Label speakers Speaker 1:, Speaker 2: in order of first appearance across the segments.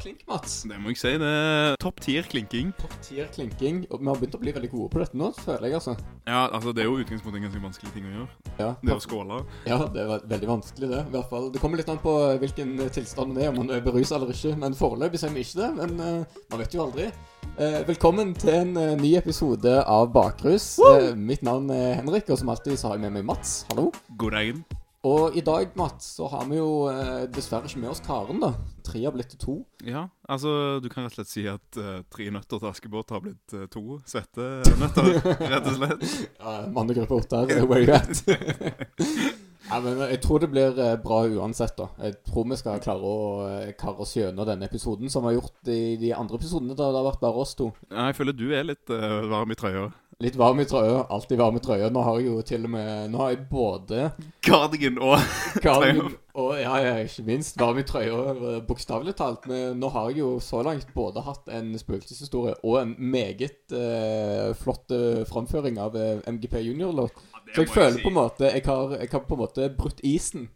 Speaker 1: klink, Mats.
Speaker 2: Det må jeg si. Det er topp tier klinking.
Speaker 1: Tier klinking. Og vi har begynt å bli veldig gode på dette nå, føler jeg, altså.
Speaker 2: Ja, altså Det er jo utgangspunktet en ganske vanskelig ting å gjøre.
Speaker 1: Ja,
Speaker 2: Det er å skåle.
Speaker 1: ja, det er ve- veldig vanskelig, det. I hvert fall. Det kommer litt an på eh, hvilken tilstand man er, om man er berusa eller ikke. Men foreløpig så er vi ikke det. Men eh, man vet jo aldri. Eh, velkommen til en eh, ny episode av Bakrus. Eh, mitt navn er Henrik, og som alltid så har jeg med meg Mats. Hallo.
Speaker 2: God dagen.
Speaker 1: Og i dag, Mats, så har vi jo eh, dessverre ikke med oss Karen, da. Tre har blitt til to.
Speaker 2: Ja, altså du kan rett og slett si at eh, tre nøtter til Askepott har blitt eh, to svette nøtter, rett og slett.
Speaker 1: Ja, Mannegruppe opp der, where you at? Nei, men jeg tror det blir eh, bra uansett, da. Jeg tror vi skal klare å eh, karre oss gjennom denne episoden, som vi har gjort i de andre episodene da det har vært bare oss to.
Speaker 2: Ja, jeg føler du er litt eh, varm i trøya.
Speaker 1: Litt varm i trøya, alltid varm i trøya. Nå har jeg jo til og med Nå har jeg både
Speaker 2: Cardigan og
Speaker 1: Karl og ja, ja, ikke minst varm i trøya, eh, bokstavelig talt. Men nå har jeg jo så langt både hatt en spøkelseshistorie og en meget eh, flott eh, framføring av eh, MGP Junior-låt. Så jeg føler på en måte jeg har, jeg har på en måte brutt isen.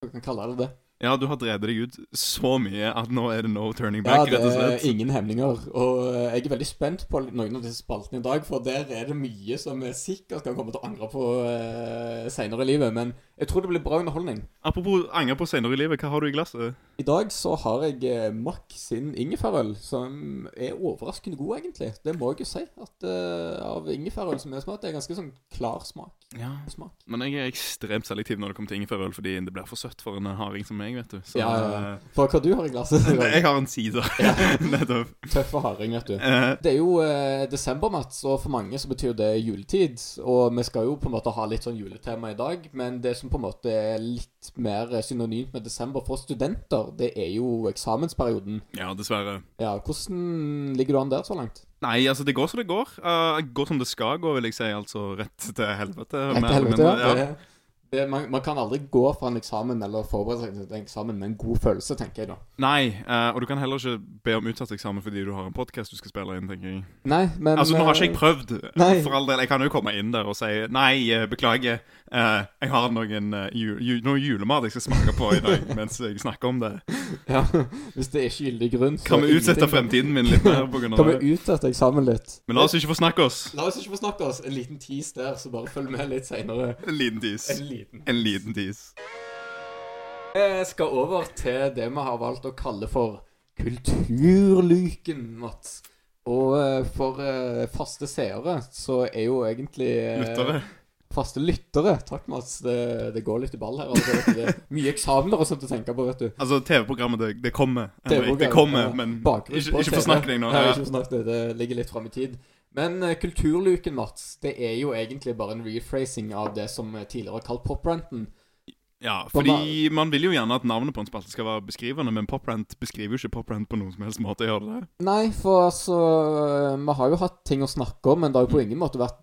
Speaker 1: Hvis du kan kalle det det.
Speaker 2: Ja, du har drevet deg ut så mye at nå er det no turning
Speaker 1: Ja,
Speaker 2: back,
Speaker 1: det
Speaker 2: rett og
Speaker 1: er
Speaker 2: slett.
Speaker 1: eh, ingen hemninger. Og eh, jeg er veldig spent på noen av disse spaltene i dag, for der er det mye som jeg sikkert kan komme til å angre på uh, seinere i livet. Men jeg tror det blir bra underholdning.
Speaker 2: Apropos anger på senere i livet, hva har du i glasset?
Speaker 1: I dag så har jeg eh, Mack sin ingefærøl, som er overraskende god, egentlig. Det må jeg jo si. At eh, av ingefærøl som er smakt, det er ganske sånn klar smak.
Speaker 2: Ja,
Speaker 1: smak.
Speaker 2: Men jeg er ekstremt selektiv når det kommer til ingefærøl, fordi det blir for søtt for en harding som meg, vet du. Så,
Speaker 1: Ja, ja,
Speaker 2: eh,
Speaker 1: For hva du har i glasset?
Speaker 2: Nei, Jeg har en sider. Nettopp.
Speaker 1: Tøff og harding, vet du.
Speaker 2: Eh,
Speaker 1: Det er jo eh, desember, Mats, og for mange så betyr det juletid. Og vi skal jo på en måte ha litt sånn juletema i dag, men det som på en måte er litt mer eh, synonymt med desember for studenter, det er jo eksamensperioden.
Speaker 2: ja, dessverre.
Speaker 1: Ja, Hvordan ligger du an der så langt?
Speaker 2: Nei, altså, det går som det går. Eh, går som det skal gå, vil jeg si. Altså rett til helvete.
Speaker 1: Nei,
Speaker 2: mer
Speaker 1: til
Speaker 2: eller
Speaker 1: helvete,
Speaker 2: mindre.
Speaker 1: ja. Det, det, man, man kan aldri gå fra en eksamen eller forberede seg til en eksamen med en god følelse, tenker jeg da.
Speaker 2: Nei, eh, og du kan heller ikke be om utsatt eksamen fordi du har en podkast du skal spille inn, tenker jeg.
Speaker 1: Nei, men
Speaker 2: Altså, nå har
Speaker 1: eh,
Speaker 2: ikke jeg prøvd,
Speaker 1: Nei.
Speaker 2: for all del. Jeg kan jo komme inn der og si nei, eh, beklager. eh, jeg har noen, eh, ju, ju, noe julemat jeg skal smake på i dag mens jeg snakker om det.
Speaker 1: eh, ja, Hvis det er ikke gyldig grunn, så
Speaker 2: Kan vi utsette
Speaker 1: ingenting.
Speaker 2: fremtiden min litt mer på grunn av
Speaker 1: Kan
Speaker 2: det?
Speaker 1: vi utsette eksamen litt?
Speaker 2: Men la oss ikke forsnakke oss.
Speaker 1: La oss ikke forsnakke oss. En liten tease der, så bare følg med litt seinere.
Speaker 2: En liten tis.
Speaker 1: En liten.
Speaker 2: En liten tis.
Speaker 1: Jeg skal over til det vi har valgt å kalle for Kulturlyken, Mats. Og eh, for eh, faste seere så er jo egentlig eh,
Speaker 2: Lyttere.
Speaker 1: Faste lyttere. Takk, Mats. Det, det går litt i ball her. Altså, vet du. det er mye eksamener og sånt å tenke på, vet du.
Speaker 2: Altså, TV-programmet, det, det kommer. Henrik,
Speaker 1: TV-programmet,
Speaker 2: det kommer,
Speaker 1: ja.
Speaker 2: men
Speaker 1: Bakgrunn
Speaker 2: ikke,
Speaker 1: på
Speaker 2: ikke
Speaker 1: TV.
Speaker 2: forsnakk deg nå.
Speaker 1: Nei,
Speaker 2: Ja.
Speaker 1: ikke forsnakk deg. Det ligger litt fram i tid. Men eh, Kulturluken, Mats, det er jo egentlig bare en rephrasing av det som eh, tidligere var kalt popranten.
Speaker 2: ja, fordi man vil jo gjerne at navnet på en spalte skal være beskrivende, men poprant beskriver jo ikke poprant på noen som helst måte. Gjør det det?
Speaker 1: Nei, for altså Vi har jo hatt ting å snakke om, men det har
Speaker 2: Mm.
Speaker 1: jo på ingen måte vært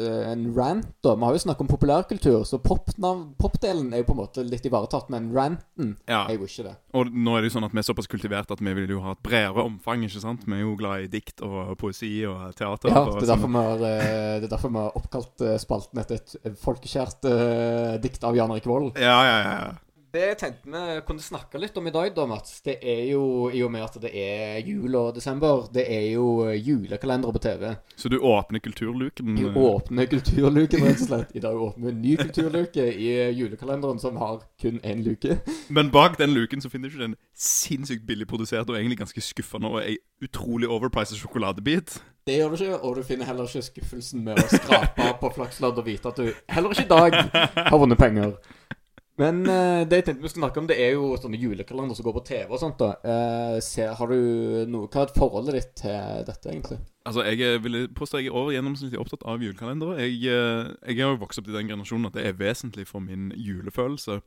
Speaker 1: eh, en rant, da. Vi har jo snakket om populærkultur, så popnav- popdelen er jo på en måte litt ivaretatt, men ranten
Speaker 2: Ja.
Speaker 1: er jo ikke det.
Speaker 2: Og nå er det jo sånn at vi er såpass kultivert at vi vil jo ha et bredere omfang. ikke sant? Vi er jo glad i dikt og poesi og teater.
Speaker 1: Ja,
Speaker 2: og
Speaker 1: det er
Speaker 2: sånne-
Speaker 1: derfor vi har, eh, det er derfor vi har oppkalt eh, spalten etter et folkekjært eh, dikt av Jan Erik Vold.
Speaker 2: Ja, ja, ja. ja.
Speaker 1: Det jeg tenkte vi kunne snakke litt om i dag, da, Mats, det er jo, i og med at det er jul og desember, det er jo eh, julekalendere på TV.
Speaker 2: Så du åpner kulturluken?
Speaker 1: Vi
Speaker 2: eh,
Speaker 1: åpner kulturluken, rett og slett. I dag åpner vi en ny kulturluke i eh, julekalenderen, som har kun én luke.
Speaker 2: Men bak den luken så finner du ikke den sinnssykt billig produsert og egentlig ganske skuffende og ei utrolig overpriced sjokoladebit.
Speaker 1: Det gjør du ikke, og du finner heller ikke skuffelsen med å skrape på flakslodd og vite at du heller ikke i dag har vunnet penger. Men eh, det jeg tenkte vi skulle snakke om, det er jo sånne julekalendere som går på TV og sånt. da. Eh, ser, har du noe, Hva er forholdet ditt til dette, egentlig?
Speaker 2: Altså, Jeg er- ville påstå jeg er over gjennomsnittlig opptatt av julekalendere. Jeg, eh, jeg har jo vokst opp i den generasjonen at det er vesentlig for min julefølelse.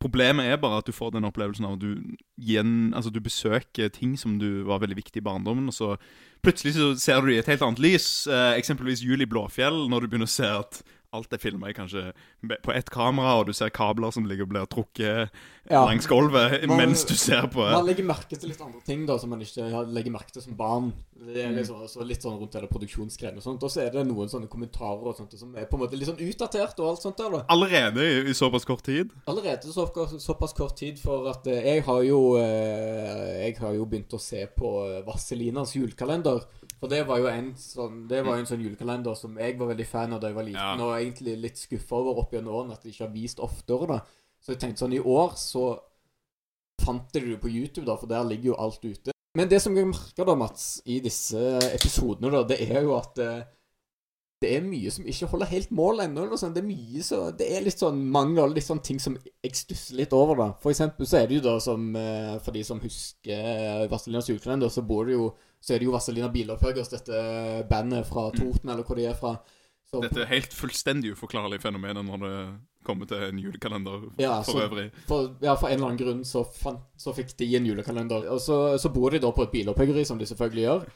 Speaker 2: Problemet er bare at du får den opplevelsen av at du, gjen, altså, du besøker ting som du var veldig viktig i barndommen, og så plutselig så ser du det i et helt annet lys. Eh, eksempelvis Jul i Blåfjell, når du begynner å se at alt er filma i kanskje be- på ett kamera, og du ser kabler som ligger og blir trukket
Speaker 1: Ja.
Speaker 2: langs gulvet
Speaker 1: Man-
Speaker 2: mens du ser på.
Speaker 1: Man legger merke til litt andre ting da, som man ikke har- legger merke til som barn. Det er liksom, så litt sånn rundt hele produksjonsgreiene og sånt. Og så er det noen sånne kommentarer og sånt som er på en måte litt sånn utdatert og alt sånt der, da.
Speaker 2: Allerede i, i såpass kort tid.
Speaker 1: Allerede så, såpass kort tid for at eh, jeg har jo eh, Jeg har jo begynt å se på eh, Vasselinas julekalender. For det var jo en sånn Det var jo en sånn julekalender som jeg var veldig fan av da jeg var liten,
Speaker 2: Ja.
Speaker 1: og egentlig litt skuffa over opp gjennom årene at de ikke har vist oftere, da. Så jeg tenkte sånn I år så fant jeg det jo på YouTube, da, for der ligger jo alt ute. Men det som jeg merker da, Mats, i disse episodene, da, det er jo at eh, det er mye som ikke holder helt mål ennå. eller sånn. Det er mye så, det er litt sånn mangler, litt sånn ting som jeg stusser litt over. da. For eksempel så er det jo da som, eh, for de som husker Vaselinas julekalender, så, bor det jo, så er det jo Vaselina Bilopphøggers, dette bandet fra Toten, eller hvor de er fra. som-
Speaker 2: Dette er helt fullstendig uforklarlig fenomen når det kommer til en julekalender
Speaker 1: Ja, altså-
Speaker 2: for
Speaker 1: så-
Speaker 2: øvrig.
Speaker 1: For, ja, for en eller annen grunn så, fant, så fikk de en julekalender. Og så, så bor de da på et bilopphøggeri, som de selvfølgelig gjør.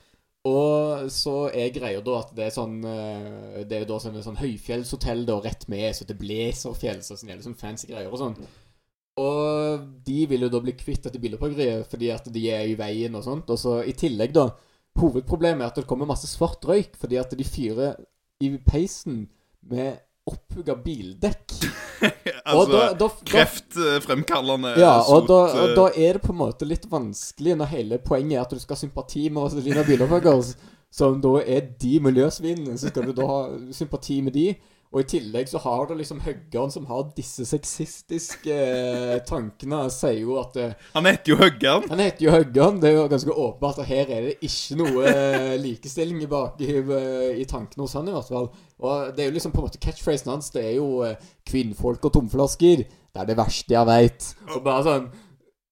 Speaker 1: Og så er greia da at det er sånn eh, Det er jo da sånn, sånn høyfjellshotell da, rett med, så det blazerfjell, så sånn, jævlig sånn fancy greier og sånn. Og de vil jo da bli kvitt dette bilopphøggeriet fordi at de er i veien og sånt. Og så i tillegg, da Hovedproblemet er at det kommer masse svart røyk fordi at de fyrer i peisen med opphugga bildekk. og da,
Speaker 2: altså,
Speaker 1: da, da
Speaker 2: kreftfremkallende
Speaker 1: ja, og
Speaker 2: sot,
Speaker 1: da, og
Speaker 2: eh,
Speaker 1: da er det på en måte litt vanskelig når hele poenget er at du skal ha sympati med Vazelina Bilopphøggers, som da er de miljøsvinene, så skal du da ha sympati med de. Og i tillegg så har du liksom høggeren som har disse sexistiske eh, tankene, sier jo at eh,
Speaker 2: Han heter jo Høggern.
Speaker 1: Han heter jo Høggeren, det er jo ganske åpenbart at her er det ikke noe eh, likestilling i, bak, i, eh, i tankene hos han i hvert fall. Og det er jo liksom på en måte catchphrasen hans, det er jo eh, 'kvinnfolk og tomflasker'. Det er det verste jeg veit. Og bare sånn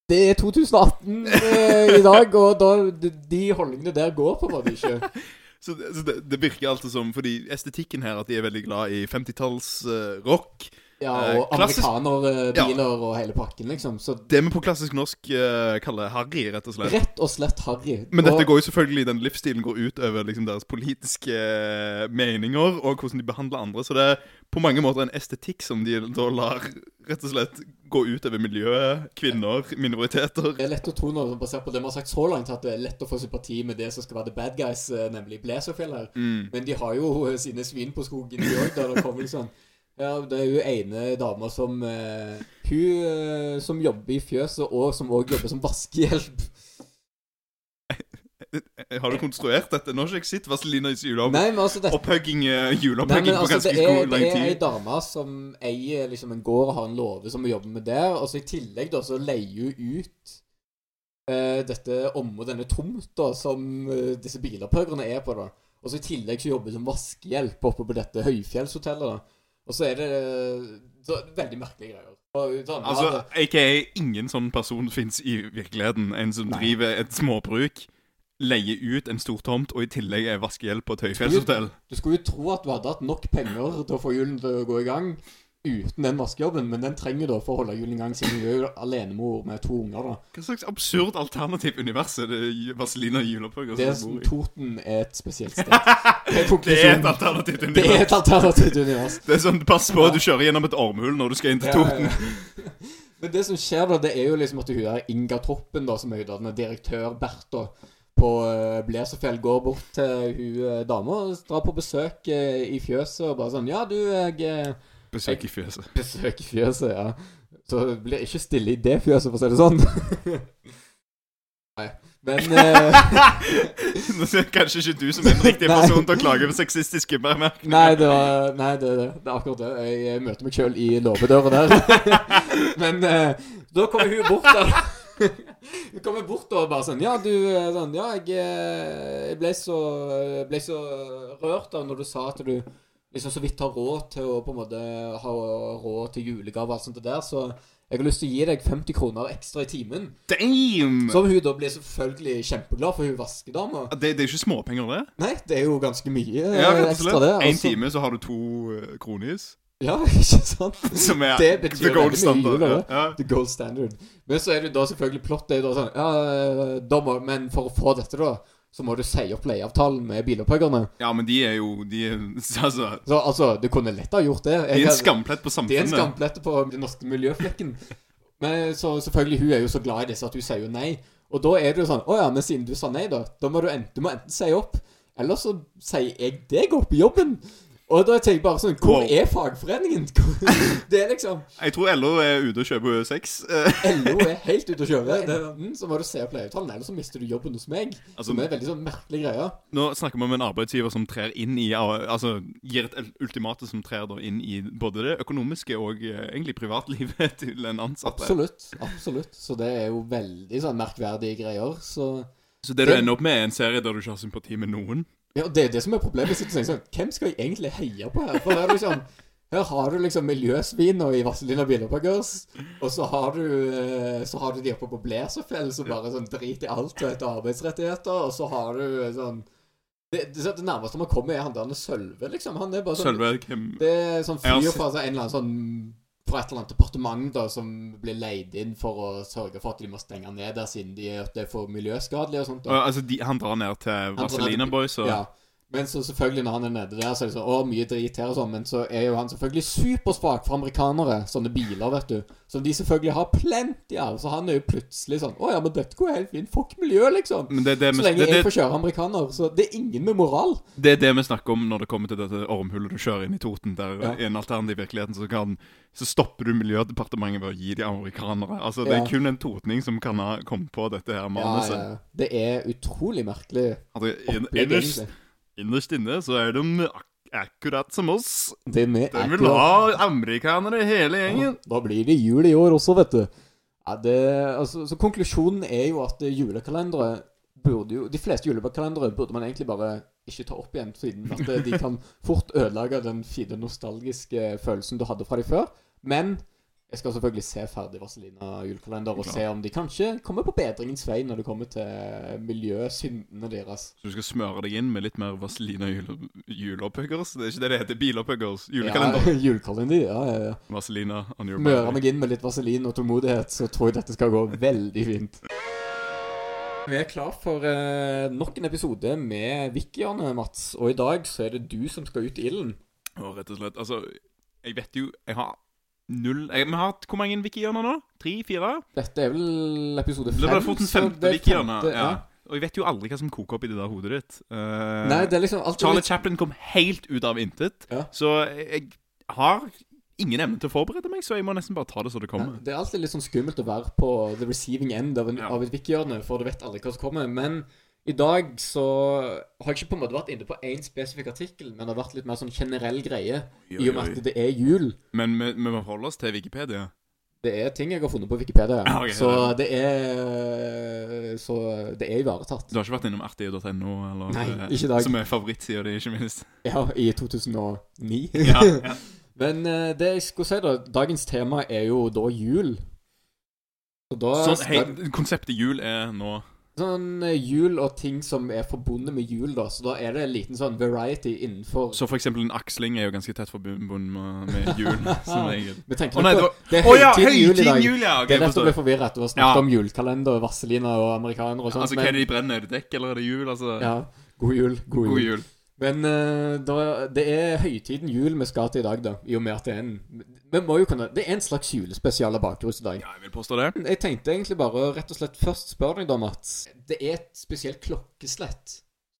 Speaker 1: Det er 2018 eh, i dag, og da, de, de holdningene der går på en måte ikke.
Speaker 2: Så, det- så det, det virker alltid som, fordi estetikken her, at de er veldig glad i 50-talls eh, rock.
Speaker 1: Ja,
Speaker 2: Eh,
Speaker 1: og
Speaker 2: klassisk-
Speaker 1: amerikanerbiler og hele pakken, liksom. Så
Speaker 2: Det vi på klassisk norsk eh, kaller harry, rett og slett.
Speaker 1: rett og slett harry.
Speaker 2: Men dette
Speaker 1: Og-
Speaker 2: går jo selvfølgelig, den livsstilen går ut over liksom, deres politiske eh, meninger og hvordan de behandler andre. Så det er på mange måter en estetikk som de da lar rett og slett gå ut over miljøet, kvinner, minoriteter.
Speaker 1: Det er lett å tro nå, basert på det vi har sagt så langt, at det er lett å få sympati med det som skal være the bad guys, eh, nemlig Blazerfjell her. Men de har jo eh, sine svin på skogen i òg, der det kommer liksom Ja, det er jo ene dama som eh, Hun eh, som jobber i fjøset, og som òg jobber som vaskehjelp.
Speaker 2: Eh, Har du konstruert dette? Nå har ikke jeg sett Vazelina i juleopp.
Speaker 1: Nei, men altså, dette
Speaker 2: Opphugging, eh,
Speaker 1: Nei,
Speaker 2: juleopphugging
Speaker 1: men
Speaker 2: på
Speaker 1: altså,
Speaker 2: ganske
Speaker 1: det er,
Speaker 2: god
Speaker 1: det
Speaker 2: lang
Speaker 1: er ei
Speaker 2: tid.
Speaker 1: dame som eier liksom en gård og har en låve som hun jobber med der, og så i tillegg da, så leier hun ut eh, dette området, denne tomta som eh, disse bilopphøggerne er på, da. Og så i tillegg så jobber hun som vaskehjelp oppe på dette høyfjellshotellet, da. Og så er det eh, så, veldig merkelige greier. Og, sånn,
Speaker 2: Altså,
Speaker 1: ja,
Speaker 2: aka ingen sånn person fins i virkeligheten. En som
Speaker 1: Nei.
Speaker 2: driver et småbruk, leier ut en stor tomt, og i tillegg er vaskehjelp på et høyfjellshotell.
Speaker 1: du skulle jo tro at du hadde hatt nok penger til å få julen til å gå i gang uten den vaskejobben, men den trenger du da for å holde julen i gang, siden hun er jo alenemor med to unger, da.
Speaker 2: Hva slags absurd alternativ univers er det ju- Vazelina Julepugger
Speaker 1: Det sånn
Speaker 2: som
Speaker 1: som
Speaker 2: bor i?
Speaker 1: Toten er et spesielt sted. Det er
Speaker 2: Det er et
Speaker 1: konklusjonen.
Speaker 2: alternativt
Speaker 1: Det er
Speaker 2: univers.
Speaker 1: et alternativt univers.
Speaker 2: Det er sånn, Pass på, du kjører gjennom et ormhull når du skal inn til Toten.
Speaker 1: Men det som skjer, da, det er jo liksom at hun der Inga Troppen, da, som er hun da, den er direktør Bertha på eh, Blesefjell, går bort til hun eh, dama og drar på besøk eh, i fjøset og bare sånn Ja, du, jeg eh,
Speaker 2: Besøk i fjøset.
Speaker 1: besøker fjøset, ja. Så det blir ikke stille i det fjøset, for å si det sånn. Nei. Men eh,
Speaker 2: Nå ser Kanskje ikke du som er en riktig
Speaker 1: Nei.
Speaker 2: person til å klage over sexistiske bemerkninger.
Speaker 1: Nei, det var Nei, det, det, det er akkurat det. Jeg møter meg sjøl i låvedøra der. Men eh, da kommer hun bort der. Hun kommer bort og bare sånn Ja, du eh, sånn, Ja, jeg, eh, jeg ble, så, ble så rørt av når du sa at du liksom så vidt har råd til å på en måte ha råd til julegave og alt sånt det der, så jeg har lyst til å gi deg 50 kroner ekstra i timen.
Speaker 2: Damn!
Speaker 1: Som hun da blir selvfølgelig kjempeglad for, hun vaskedama.
Speaker 2: Det, det er ikke småpenger, det.
Speaker 1: Nei, det er jo ganske mye eh,
Speaker 2: Ja, rett og
Speaker 1: ekstra, det.
Speaker 2: slett. Én
Speaker 1: altså.
Speaker 2: time, så har du to eh, kronehus.
Speaker 1: Ja, ikke sant?
Speaker 2: Som er
Speaker 1: Det betyr
Speaker 2: the gold
Speaker 1: veldig mye
Speaker 2: standard.
Speaker 1: jul, eller?
Speaker 2: ja. Ja.
Speaker 1: The gold standard. Men så er det jo da selvfølgelig plott. Det er jo da sånn Ja, dommer, men for å få dette, da, så må du si opp leieavtalen med bilopphøggerne.
Speaker 2: Ja, men de er jo De er, altså,
Speaker 1: Så altså, du kunne lett ha gjort det. Jeg
Speaker 2: de er en
Speaker 1: hadde-
Speaker 2: skamplett på
Speaker 1: Det er en
Speaker 2: samfunnet.
Speaker 1: skamplette på den norske miljøflekken. Men så selvfølgelig, hun er jo så glad i det, så at hun sier jo nei. Og da er det jo sånn Å ja, men siden du sa nei, da, da må du enten, du må enten si opp, eller så sier jeg deg opp i jobben. Og da tenker jeg bare sånn Hvor
Speaker 2: Wow.
Speaker 1: er fagforeningen? Hvor- Det er liksom
Speaker 2: Jeg tror LO er ute og kjøper sex. Eh,
Speaker 1: LO er helt ute å kjøre. Det, mm, så må du se opp leieavtalen, eller så mister du jobben hos meg.
Speaker 2: Altså-
Speaker 1: Som er veldig sånn merkelig greie.
Speaker 2: Nå snakker vi om en arbeidsgiver som trer inn i Altså gir et ultimate som trer da inn i både det økonomiske og eh, egentlig privatlivet til en ansatt.
Speaker 1: Absolutt. Absolutt. Så det er jo veldig sånn merkverdige greier. Så
Speaker 2: Så det du ender opp med, er en serie der du ikke har sympati med noen.
Speaker 1: Ja, og Det er det som er problemet. Jeg sitter og tenker sånn, Hvem skal jeg egentlig heie på her? For her, er liksom, her har du liksom miljøsvin og i Vazelina Bilopphøggers, og så har du eh, Så har du de oppe på Blesefjell som bare sånn driter i alt og etter arbeidsrettigheter, og så har du eh, sånn Det, det, det nærmeste man kommer, er han der med Sølve, liksom. Han er bare sånn
Speaker 2: Sølve, hvem
Speaker 1: Det er sånn
Speaker 2: Jeg har
Speaker 1: fyr
Speaker 2: sett-
Speaker 1: fra altså, en eller annen sånn fra et eller annet departement da, som blir leid inn for å sørge for at de må stenge ned der siden de, at det er for miljøskadelig og sånt. Da.
Speaker 2: Å, Altså, de, Han drar ned til
Speaker 1: drar ned til-
Speaker 2: Vazelina Boys og
Speaker 1: Ja. Men så selvfølgelig når han er nede der, så er det sånn Å, mye drit her og sånn. Men så er jo han selvfølgelig supersvak for amerikanere. Sånne biler, vet du. Som de selvfølgelig har plenty av. Så han er jo plutselig sånn Å ja, men dette går helt fint. Fuck miljø, liksom.
Speaker 2: Mm, Men det er det,
Speaker 1: Så
Speaker 2: vi,
Speaker 1: lenge
Speaker 2: det,
Speaker 1: jeg
Speaker 2: det,
Speaker 1: får kjøre amerikaner. Så det er ingen med moral.
Speaker 2: det er det vi snakker om når det kommer til dette ormhullet du kjører inn i Toten. Der
Speaker 1: Ja.
Speaker 2: i en alternativ virkeligheten så, kan, så stopper du Miljødepartementet ved å gi de amerikanere. Altså, Det
Speaker 1: Ja.
Speaker 2: er kun en totning som kan ha kommet på dette her
Speaker 1: Ja,
Speaker 2: manuset.
Speaker 1: ja. Det er utrolig merkelig.
Speaker 2: Altså, inn-
Speaker 1: opplegg,
Speaker 2: innerst,
Speaker 1: egentlig.
Speaker 2: innerst inne så er de ak akkurat som oss.
Speaker 1: Det med
Speaker 2: De vil
Speaker 1: akkurat-
Speaker 2: ha amerikanere, hele gjengen.
Speaker 1: Da blir det jul i år også, vet du. Ja, det, altså, så konklusjonen er jo at julekalendere burde jo De fleste julekalendere burde man egentlig bare ikke ta opp igjen, siden at eh, de kan fort ødelegge den fine nostalgiske eh, følelsen du hadde fra de før. Men jeg skal selvfølgelig se ferdig Vazelina julekalender og
Speaker 2: Klar.
Speaker 1: se om de kanskje kommer på bedringens vei når det kommer til miljøsyndene deres.
Speaker 2: Så du skal smøre deg inn med litt mer Vazelina jule- juleopphuggers? Det er ikke det det heter. Bilopphuggers. Julekalender.
Speaker 1: Ja, julekalender, ja, ja, ja.
Speaker 2: Vazelina on your
Speaker 1: Møre
Speaker 2: body.
Speaker 1: meg inn med litt vaselin og tålmodighet, så tror jeg dette skal gå veldig fint. Vi er klar for eh, nok en episode med Vikiane, Mats. Og i dag så er det du som skal ut i ilden.
Speaker 2: Og rett og slett, altså Jeg vet jo Jeg har null jeg, Vi har hatt hvor mange wiki-hjørner nå? Tre? Fire?
Speaker 1: Dette er vel episode fem?
Speaker 2: Det ble fort en
Speaker 1: så det
Speaker 2: femte
Speaker 1: er
Speaker 2: wiki-hjørne.
Speaker 1: femte,
Speaker 2: Ja. Og jeg vet jo aldri hva som koker opp i det der hodet ditt. Eh,
Speaker 1: Nei, det er liksom alt
Speaker 2: Charlie Chaplin kom helt ut av intet.
Speaker 1: Ja.
Speaker 2: Så jeg har ingen evne til å forberede meg, så jeg må nesten bare ta det så det
Speaker 1: Nei,
Speaker 2: kommer.
Speaker 1: Det er alltid litt sånn skummelt å være på the receiving end av, en,
Speaker 2: Ja.
Speaker 1: av et wiki-hjørne, for du vet aldri hva som kommer. Men i dag så har jeg ikke på en måte vært inne på én spesifikk artikkel, men det har vært litt mer sånn generell greie, i og med at det er jul.
Speaker 2: Men vi, vi må forholde oss til Wikipedia.
Speaker 1: Det er ting jeg har funnet på Wikipedia.
Speaker 2: Ah, ok.
Speaker 1: så det er eh, Så det er ivaretatt.
Speaker 2: Du har ikke vært innom artig.no? eller,
Speaker 1: Nei,
Speaker 2: eh,
Speaker 1: ikke i dag.
Speaker 2: Som er favorittsida di, ikke minst.
Speaker 1: Ja, i 2009.
Speaker 2: Ja, ja.
Speaker 1: Men eh, det jeg skulle si, da Dagens tema er jo da jul. Så da
Speaker 2: Sånn, hei, konseptet jul er nå
Speaker 1: sånn eh, jul og ting som er forbundet med jul, da. Så da er det en liten sånn variety innenfor
Speaker 2: Så for eksempel en aksling er jo ganske tett forbundet med, med jul, som regel.
Speaker 1: Vi tenker
Speaker 2: Å nei,
Speaker 1: nok
Speaker 2: det
Speaker 1: på Det er
Speaker 2: var Å ja,
Speaker 1: høytiden jul i
Speaker 2: høytiden
Speaker 1: dag.
Speaker 2: jul, ja! ok,
Speaker 1: Det er lett å
Speaker 2: forstår.
Speaker 1: bli forvirret etter å snakke
Speaker 2: Ja.
Speaker 1: om julekalender og vaseliner og amerikanere og sånt.
Speaker 2: Altså, Hva er det de brenner? Er det dekk, eller er det jul? Altså,
Speaker 1: ja, god jul. God jul.
Speaker 2: God jul.
Speaker 1: Men eh, da, det er høytiden jul vi skal til i dag, da. I og med at det er en vi må jo kunne, Det er en slags julespesial av bakrus i dag.
Speaker 2: Ja, jeg vil påstå det.
Speaker 1: Jeg tenkte egentlig bare rett og slett først spørre deg, da, Mats. Det er et spesielt klokkeslett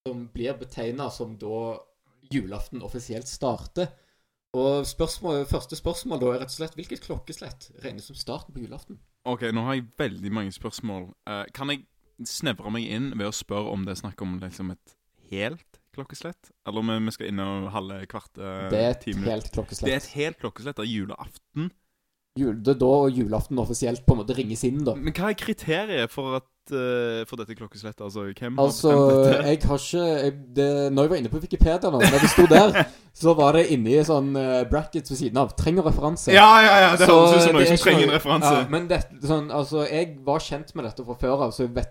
Speaker 1: som blir betegna som da julaften offisielt starter. Og spørsmål, første spørsmål da er rett og slett hvilket klokkeslett regnes som starten på julaften?
Speaker 2: Ok, nå har jeg veldig mange spørsmål. Eh, kan jeg snevre meg inn ved å spørre om det er snakk om liksom et helt klokkeslett? Eller om vi skal innom halve, kvarte,
Speaker 1: det er et
Speaker 2: Eh, ti minutter?
Speaker 1: helt
Speaker 2: Det er et
Speaker 1: klokkeslett.
Speaker 2: helt klokkeslett av julaften.
Speaker 1: Jul, det er da julaften offisielt på en måte ringes inn, da.
Speaker 2: Men hva er kriteriet for, at, eh, for dette klokkeslettet? Altså, hvem
Speaker 1: Altså,
Speaker 2: har bestemt dette?
Speaker 1: jeg har ikke jeg, det, Når jeg var inne på Wikipedia, nå, når det sto der, så var det inni sånn eh, brackets ved siden av. Trenger referanse.
Speaker 2: Ja, ja, ja! Det
Speaker 1: Så
Speaker 2: høres ut som noen
Speaker 1: det er
Speaker 2: som
Speaker 1: ikke
Speaker 2: trenger en
Speaker 1: noe-
Speaker 2: referanse.
Speaker 1: Ja, men det, sånn, altså, jeg var kjent med dette fra før av, så jeg vet,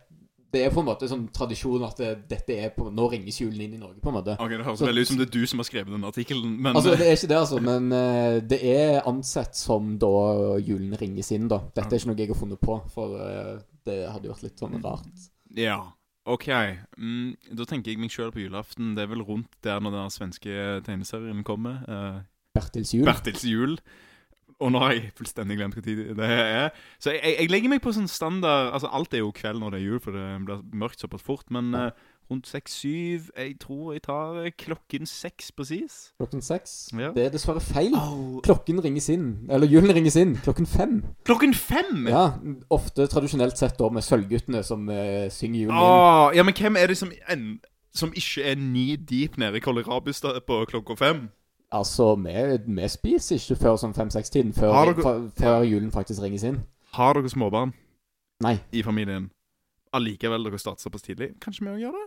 Speaker 1: det er på en måte sånn tradisjon at det, dette er på, Nå ringes julen inn i Norge, på en måte.
Speaker 2: Ok, Det høres
Speaker 1: Så-
Speaker 2: veldig ut som det er du som har skrevet den artikkelen, men
Speaker 1: Altså, det er ikke det, altså, men eh, det er ansett som da julen ringes inn, da. Dette er ikke noe jeg har funnet på, for eh, det hadde jo vært litt sånn rart.
Speaker 2: Ja. OK. Mm, da tenker jeg meg sjøl på julaften. Det er vel rundt der når den svenske tegneserien kommer. eh,
Speaker 1: Bertils jul.
Speaker 2: Bertils jul. Og nå har jeg fullstendig glemt hva tid det her er. Så jeg, jeg, jeg legger meg på sånn standard Altså Alt er jo kveld når det er jul, for det blir mørkt såpass fort. Men eh, rundt seks-syv Jeg tror jeg tar eh, klokken seks presis.
Speaker 1: Klokken seks.
Speaker 2: Ja.
Speaker 1: Det er dessverre feil.
Speaker 2: Au.
Speaker 1: Klokken ringes inn, eller julen ringes inn, klokken fem.
Speaker 2: Klokken fem! Ja.
Speaker 1: Ja, Ofte tradisjonelt sett da med Sølvguttene som eh, synger julen inn.
Speaker 2: Ah, ja, men hvem er det som, en, som ikke er ni deep nede i Kollerabius da- på klokka fem?
Speaker 1: Altså, vi, vi spiser ikke før sånn fem-seks-tiden, før,
Speaker 2: Har dere-
Speaker 1: fa- før julen faktisk ringes inn.
Speaker 2: Har dere småbarn
Speaker 1: Nei.
Speaker 2: i familien? Allikevel dere starter såpass tidlig? Kanskje vi òg gjør det?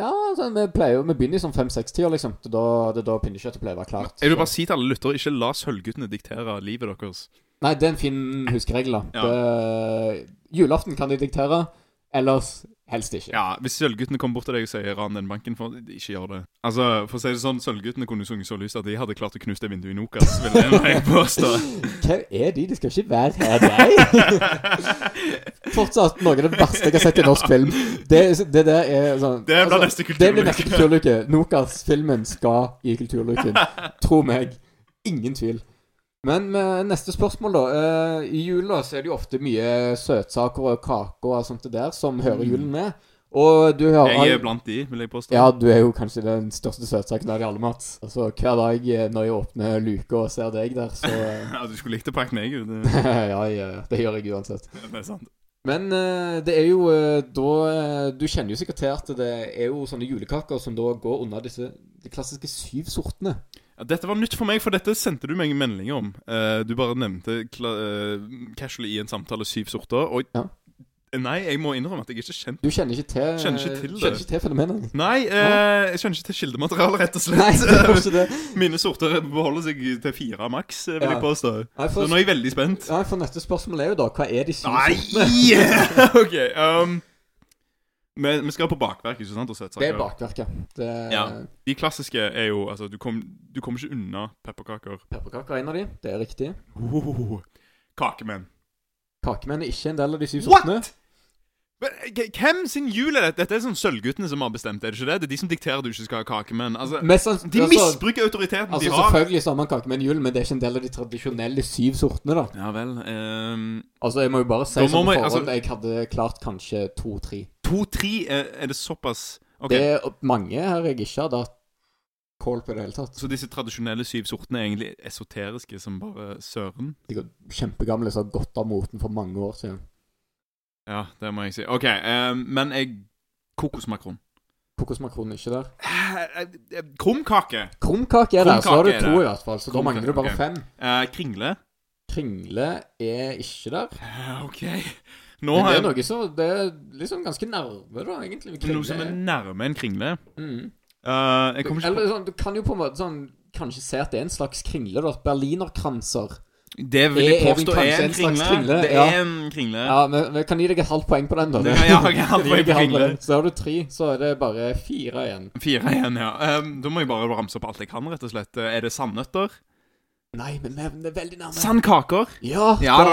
Speaker 1: Ja, altså, vi pleier jo Vi begynner i sånn fem-seks-tida, liksom. Det er da, det er da pinnekjøttet pleier å være klart.
Speaker 2: Jeg vil bare
Speaker 1: Så-
Speaker 2: si til alle lyttere, ikke la sølvguttene diktere livet deres.
Speaker 1: Nei, det er en fin huskeregel, da.
Speaker 2: Ja.
Speaker 1: Det, julaften kan de diktere, ellers helst ikke.
Speaker 2: Ja, Hvis Sølvguttene kommer bort til deg og sier 'ran den banken', for ikke gjør det. Altså, for å si det sånn, Sølvguttene kunne sunget så lyst at de hadde klart å knuse det vinduet i Nokas, vil jeg påstå.
Speaker 1: Hva er de? De skal ikke være her, nei. Fortsatt noe av det verste jeg har sett i norsk film. Det, det der er sånn
Speaker 2: Det blir
Speaker 1: altså,
Speaker 2: neste
Speaker 1: Det blir neste
Speaker 2: kulturløk.
Speaker 1: kulturluke. Nokas-filmen skal i kulturluken. Tro meg. Ingen tvil. Men med neste spørsmål, da. Eh, I jula så er det jo ofte mye søtsaker og kaker og sånt det der som hører julen med. Og du hører
Speaker 2: Mm. Jeg er blant de, vil jeg påstå.
Speaker 1: ja, du er jo kanskje den største søtsaken av de alle, Mats. Altså, hver dag eh, når jeg åpner luka og ser deg der, så eh,
Speaker 2: Ja, du skulle likt å pakke meg ut. Det,
Speaker 1: ja, ja, ja, det gjør jeg uansett.
Speaker 2: det er sant.
Speaker 1: Men eh, det er jo eh, da eh, Du kjenner jo sikkert til at det er jo sånne julekaker som da går unna disse de klassiske syv sortene.
Speaker 2: Ja, dette var nytt for meg, for dette sendte du meg en melding om. Eh, du bare nevnte kla eh, casually i en samtale syv sorter, og
Speaker 1: Ja.
Speaker 2: Nei, jeg må innrømme at jeg er ikke kjent
Speaker 1: Du kjenner ikke til eh,
Speaker 2: Kjenner ikke til det.
Speaker 1: kjenner ikke til fenomenet?
Speaker 2: Nei, eh, jeg skjønner ikke til kildematerialet, rett og
Speaker 1: Nei,
Speaker 2: slett.
Speaker 1: det var ikke det.
Speaker 2: Mine sorter beholder seg til fire maks, vil
Speaker 1: Ja.
Speaker 2: jeg påstå.
Speaker 1: Nei,
Speaker 2: Så
Speaker 1: for,
Speaker 2: nå er jeg veldig spent.
Speaker 1: nei, for neste spørsmål er jo da hva er de syv
Speaker 2: Nei!
Speaker 1: sortene?
Speaker 2: OK. Um, vi, vi skal på bakverk, ikke sant? Og søtsaker.
Speaker 1: Det er bakverket. Det er
Speaker 2: Ja. De klassiske er jo altså, Du kommer du kommer ikke unna pepperkaker.
Speaker 1: Pepperkaker er en av de. Det er riktig.
Speaker 2: Oh, kakemenn.
Speaker 1: Kakemenn er ikke en del av de syv
Speaker 2: What?!
Speaker 1: sortene.
Speaker 2: Men, k- Hvem sin jul er dette? Dette er sånn Sølvguttene som har bestemt det. er det ikke det? Det er de som dikterer at du ikke skal ha kakemenn. Altså,
Speaker 1: Mest sanns-
Speaker 2: de
Speaker 1: altså-
Speaker 2: misbruker autoriteten
Speaker 1: Altså
Speaker 2: de har.
Speaker 1: Selvfølgelig så har man kakemenn jul, men det er ikke en del av de tradisjonelle syv sortene. da
Speaker 2: Ja vel. ehm,
Speaker 1: Altså Jeg må jo bare
Speaker 2: Da
Speaker 1: si
Speaker 2: må
Speaker 1: sånn på
Speaker 2: man-
Speaker 1: forhånd
Speaker 2: altså-
Speaker 1: jeg hadde klart kanskje to-tre.
Speaker 2: To-tre, er, er det såpass? Ok,
Speaker 1: Det er mange her jeg ikke hadde hatt kål på i det hele tatt.
Speaker 2: Så disse tradisjonelle syv sortene er egentlig esoteriske som bare søren?
Speaker 1: De er Kjempegamle som har gått av moten for mange år siden.
Speaker 2: Ja, det må jeg si. OK, eh, men jeg Kokosmakron.
Speaker 1: Kokosmakron er ikke der.
Speaker 2: Eh, eh, Krumkake.
Speaker 1: Krumkake er der, så har du
Speaker 2: Krumkake er
Speaker 1: to
Speaker 2: der.
Speaker 1: i hvert fall. Så da
Speaker 2: Krumkake,
Speaker 1: mangler du bare
Speaker 2: ok.
Speaker 1: fem.
Speaker 2: Eh, kringle.
Speaker 1: Kringle er ikke der.
Speaker 2: Eh, OK. Nå
Speaker 1: Men
Speaker 2: har
Speaker 1: det er
Speaker 2: jeg
Speaker 1: noe som Det er liksom ganske nærme, da, egentlig. med
Speaker 2: noe som er
Speaker 1: Kringle.
Speaker 2: nærme en kringle.
Speaker 1: Mm.
Speaker 2: Eh, jeg
Speaker 1: Du,
Speaker 2: kommer ikke
Speaker 1: eller sånn, du kan jo på en måte sånn Kanskje se at det er en slags kringle, da. Berlinerkranser.
Speaker 2: på Det vil jeg
Speaker 1: Er- er vi
Speaker 2: påstå
Speaker 1: kanskje
Speaker 2: er
Speaker 1: en
Speaker 2: en
Speaker 1: slags
Speaker 2: kringle.
Speaker 1: kringle?
Speaker 2: Det
Speaker 1: Ja.
Speaker 2: er en kringle.
Speaker 1: Ja, men men jeg kan gi deg et halvt poeng på den, da.
Speaker 2: Du kan- ja, ok, halvt
Speaker 1: Gi
Speaker 2: poeng
Speaker 1: deg et
Speaker 2: på
Speaker 1: halvt
Speaker 2: kringle.
Speaker 1: poeng. Så har du tre, så er det bare fire igjen.
Speaker 2: Fire igjen, ja. Eh, da må jeg bare ramse opp alt jeg kan, rett og slett. Eh, Er det sandnøtter?
Speaker 1: Nei, men vi er veldig nærme.
Speaker 2: Sandkaker?
Speaker 1: ja,
Speaker 2: Ja
Speaker 1: der er det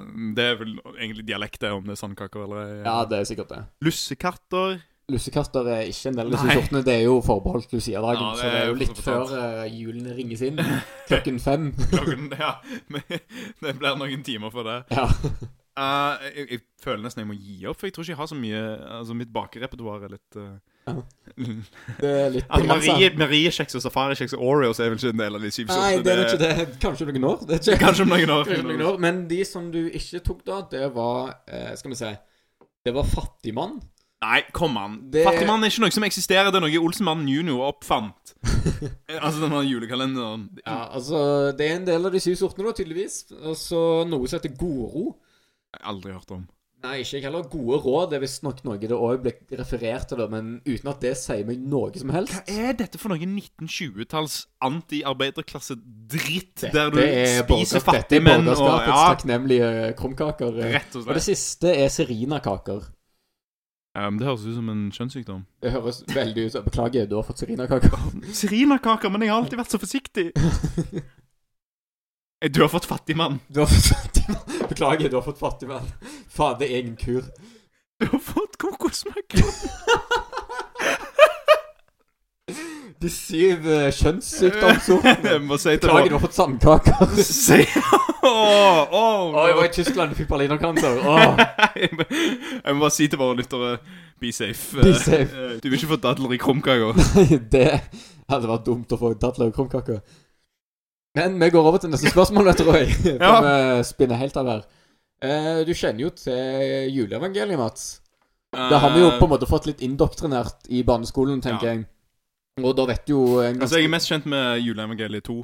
Speaker 1: en.
Speaker 2: da! Det er vel egentlig dialekt, det, om det er sandkaker eller
Speaker 1: ja, det er sikkert det.
Speaker 2: Lussekatter.
Speaker 1: Lussekatter er ikke en del av disse
Speaker 2: Nei.
Speaker 1: sortene. Det er jo forbeholdt Lucia-dagen,
Speaker 2: Ja, det
Speaker 1: så det
Speaker 2: er
Speaker 1: er
Speaker 2: jo
Speaker 1: jo litt
Speaker 2: for så
Speaker 1: før uh, julen ringes inn. Klokken fem.
Speaker 2: klokken Ja, men det blir noen timer for det.
Speaker 1: Ja.
Speaker 2: Eh, jeg, jeg føler nesten jeg må gi opp, for jeg tror ikke jeg har så mye Altså, mitt bakerepertoar er litt eh,
Speaker 1: Ja.
Speaker 2: mm.
Speaker 1: Det er litt
Speaker 2: Altså,
Speaker 1: begrenset.
Speaker 2: Marie, Mariekjeks og safarikjeks og Oreos er vel ikke en del av de syv
Speaker 1: Nei, det er nok ikke det. Kanskje noen år. Det er ikke
Speaker 2: Kanskje om noen år.
Speaker 1: Kanskje noen år. Men de som du ikke tok da, det var eh, Skal vi se Det var Fattigmann.
Speaker 2: Nei, kom an.
Speaker 1: Det-
Speaker 2: Fattigmann er ikke noe som eksisterer. Det er noe Olsenmannen jr. oppfant. altså denne julekalenderen.
Speaker 1: Ja, altså Det er en del av de syv sortene, da, tydeligvis. Og så noe som heter godro.
Speaker 2: Aldri hørt om.
Speaker 1: Nei, ikke jeg heller. Gode råd er visstnok noe det òg ble referert til, da, men uten at det sier meg noe som helst.
Speaker 2: Hva er dette for noe 1920-talls anti-arbeiderklasse-dritt?
Speaker 1: Dette
Speaker 2: Der du
Speaker 1: er
Speaker 2: spiser
Speaker 1: borgerskap- dette er
Speaker 2: fattigmenn og
Speaker 1: borgerskapets
Speaker 2: ja,
Speaker 1: takknemlige eh, krumkaker.
Speaker 2: Rett og
Speaker 1: Og det
Speaker 2: slett.
Speaker 1: siste er serinakaker.
Speaker 2: Um, det høres ut som en kjønnssykdom.
Speaker 1: Det høres veldig ut som Beklager, du har fått serinakaker.
Speaker 2: Serinakaker, men jeg har alltid vært så forsiktig. Eh, Du har fått fattigmann.
Speaker 1: Du har fått fattigmann. Beklager, du har fått fattigmann. Faen, det er egen kur.
Speaker 2: Du har fått kokosmakron!
Speaker 1: De syv eh, kjønnssykdomssortene.
Speaker 2: Jeg må si til
Speaker 1: Beklager, du har fått sandkaker.
Speaker 2: Si Åh, åh,
Speaker 1: Å, jeg var i Tyskland og fikk berlinerkanser. Åh,
Speaker 2: Jeg må jeg må bare si til våre lyttere Be safe.
Speaker 1: Be safe.
Speaker 2: Eh, eh, Du vil ikke få dadler i krumkaker.
Speaker 1: det hadde vært dumt å få dadler og krumkaker. Men vi går over til neste spørsmål, vet du, Roy. For
Speaker 2: Ja.
Speaker 1: vi spinner helt av her. Eh, Du kjenner jo til juleevangeliet, Mats. Det har vi jo på en måte fått litt indoktrinert i barneskolen, tenker
Speaker 2: Ja.
Speaker 1: jeg. Og da vet du jo en
Speaker 2: Altså,
Speaker 1: ganske
Speaker 2: jeg er mest kjent med juleevangeliet 2.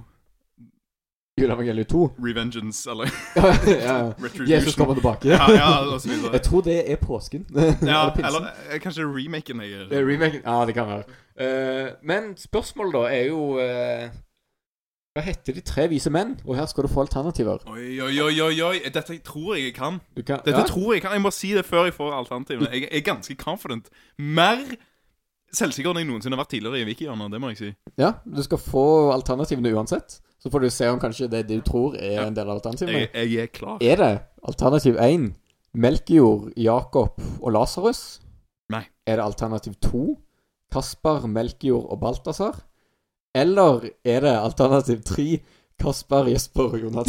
Speaker 1: Juleevangeliet 2.
Speaker 2: Revengeance, eller
Speaker 1: ja, ja. Jesus
Speaker 2: Retribution.
Speaker 1: kommer tilbake.
Speaker 2: Ja, ja, og så videre.
Speaker 1: Jeg tror det er påsken.
Speaker 2: Ja,
Speaker 1: altså- eller pinsen.
Speaker 2: eller eh, kanskje remaken jeg
Speaker 1: Det er
Speaker 2: er
Speaker 1: Eh, remaken. Ja, det kan være. Eh, men spørsmålet da er jo eh, Hva heter de tre vise menn? Og her skal du få alternativer.
Speaker 2: Oi, oi, oi, oi, oi. Dette tror jeg jeg kan.
Speaker 1: Du kan,
Speaker 2: Dette
Speaker 1: ja,
Speaker 2: tror jeg kan. Jeg må si det før jeg får alternativene. Jeg er ganske confident. Mer selvsikker enn jeg noensinne har vært tidligere i Wikihjørnet. Det må jeg si.
Speaker 1: ja, du skal få alternativene uansett. Så får du se om kanskje det du tror er
Speaker 2: Ja.
Speaker 1: en del av alternativene.
Speaker 2: Jeg, jeg er klar.
Speaker 1: Er det alternativ 1 Melkejord, Jakob og Lasarus?
Speaker 2: Nei.
Speaker 1: Er det alternativ 2 Kasper, Melkejord og Balthazar? Eller er det alternativ 3 Kasper, Jesper og Jonas?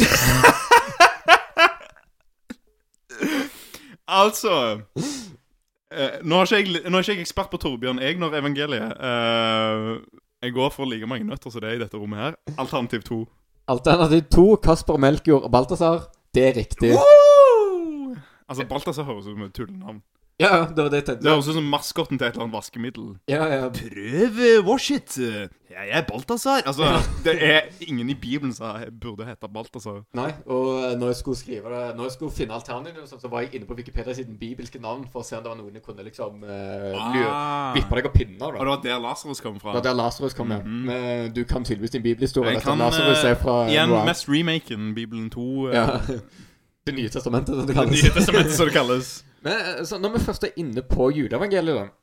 Speaker 2: Altså eh, nå, er ikke jeg, nå er ikke jeg ekspert på Torbjørn Egner-evangeliet. Eh, jeg går for like mange nøtter som det er i dette rommet her. Alternativ to.
Speaker 1: Alternativ 2 Kasper, Melkejord og Balthazar. Det er riktig.
Speaker 2: Woo! Altså, Balthazar høres ut som et tullenavn.
Speaker 1: Ja, det var det jeg
Speaker 2: Det
Speaker 1: tenkte.
Speaker 2: høres ut som maskotten til et eller annet vaskemiddel.
Speaker 1: Ja, ja.
Speaker 2: Prøv eh, wash it! Jeg er Balthazar. Altså, det er ingen i Bibelen som burde hete Balthazar.
Speaker 1: Nei, og eh, når jeg skulle skrive det Når jeg skulle finne alternativet, og sånt, så var jeg inne på Wikipedia-siden bibelske navn for å se om det var noen jeg kunne liksom eh,
Speaker 2: Ah.
Speaker 1: lure- vippe deg av pinner.
Speaker 2: Og
Speaker 1: da.
Speaker 2: det var der Lasarus kom fra.
Speaker 1: Det var der Lasarus kom med.
Speaker 2: Mhm.
Speaker 1: Men eh, du kan tydeligvis din bibelhistorie.
Speaker 2: Jeg
Speaker 1: dette.
Speaker 2: kan
Speaker 1: Lazarus er
Speaker 2: eh,
Speaker 1: fra
Speaker 2: igjen
Speaker 1: noe annet.
Speaker 2: mest remaken, Bibelen 2. eh,
Speaker 1: Ja. Det nye testamentet, som det kalles.
Speaker 2: Nye testamentet, som det kalles.
Speaker 1: Men eh, så når vi først er inne på juleevangeliet, da,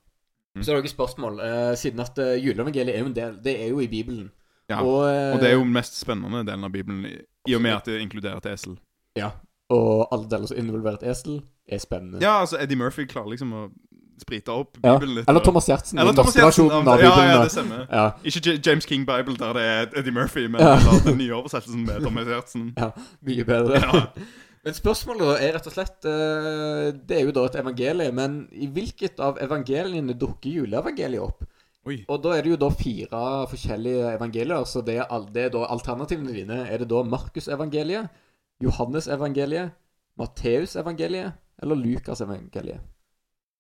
Speaker 2: Mhm.
Speaker 1: så er det noen spørsmål. eh, siden at eh, juleevangeliet er jo en del Det er jo i Bibelen.
Speaker 2: Ja,
Speaker 1: Og, eh,
Speaker 2: Og det er jo den mest spennende delen av Bibelen, i- i og med at det inkluderer et esel.
Speaker 1: ja, og alle deler som involverer et esel, er spennende.
Speaker 2: Ja, altså, Eddie Murphy klarer liksom å sprite opp
Speaker 1: Ja.
Speaker 2: Bibelen litt.
Speaker 1: Eller
Speaker 2: og-
Speaker 1: Thomas Gjertsen.
Speaker 2: Eller
Speaker 1: den
Speaker 2: Thomas
Speaker 1: norske
Speaker 2: Gjertsen.
Speaker 1: versjonen
Speaker 2: ja,
Speaker 1: av Bibelen.
Speaker 2: ja,
Speaker 1: da.
Speaker 2: det stemmer.
Speaker 1: Ja,
Speaker 2: Ikke J James King Bible, der det er Eddie Murphy, men
Speaker 1: Ja.
Speaker 2: eller den nye oversettelsen med Thomas Gjertsen.
Speaker 1: mye bedre.
Speaker 2: Ja.
Speaker 1: Men spørsmålet da er rett og slett eh, Det er jo da et evangelie, men i hvilket av evangeliene dukker juleevangeliet opp?
Speaker 2: Oi.
Speaker 1: Og da er det jo da fire forskjellige evangelier, så det er, all, det er da alternativene dine. Er det da Markusevangeliet, Johannesevangeliet, Matteusevangeliet eller Lukasevangeliet?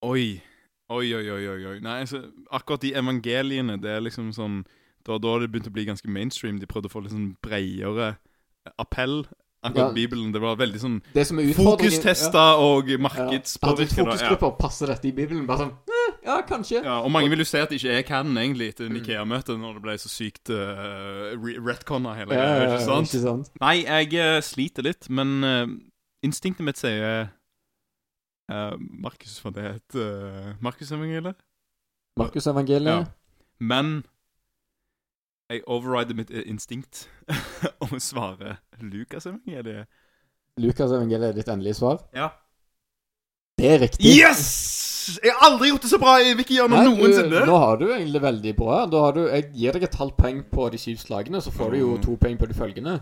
Speaker 2: Oi. Oi, oi, oi, oi. oi. Nei, altså, akkurat de evangeliene, det er liksom sånn Da da har det begynt å bli ganske mainstream. De prøvde å få litt sånn bredere appell. Akkurat
Speaker 1: Ja.
Speaker 2: Bibelen. Det var veldig sånn
Speaker 1: Det som er utfordringen
Speaker 2: Fokustester og
Speaker 1: Hadde
Speaker 2: markedspåvirker. da, ja.
Speaker 1: fokusgrupper passer dette i Bibelen? Bare sånn eh, Ja, kanskje.
Speaker 2: Ja, og mange vil jo si at ikke jeg kan den egentlig etter en Ikea-møte, når det ble så sykt uh, retconna hele
Speaker 1: Ja,
Speaker 2: greia.
Speaker 1: ja,
Speaker 2: ikke sant?
Speaker 1: Ikke sant?
Speaker 2: Nei, jeg eh, sliter litt, men eh, instinktet mitt sier eh, Markus, for det er et eh, Markusevangeliet.
Speaker 1: Markusevangeliet.
Speaker 2: Ja. Men jeg overrider mitt eh, instinkt og svarer Lukasevangeliet.
Speaker 1: Lukasevangeliet er ditt endelige svar?
Speaker 2: Ja.
Speaker 1: Det er riktig.
Speaker 2: Yes! Jeg har aldri gjort det så bra i Wikihjørnet
Speaker 1: Nei, du-
Speaker 2: noensinne!
Speaker 1: Nå har du egentlig veldig bra. Da har du, jeg gir deg et halvt poeng på de syv slagene, så får du jo
Speaker 2: Mm.
Speaker 1: to poeng på de følgende.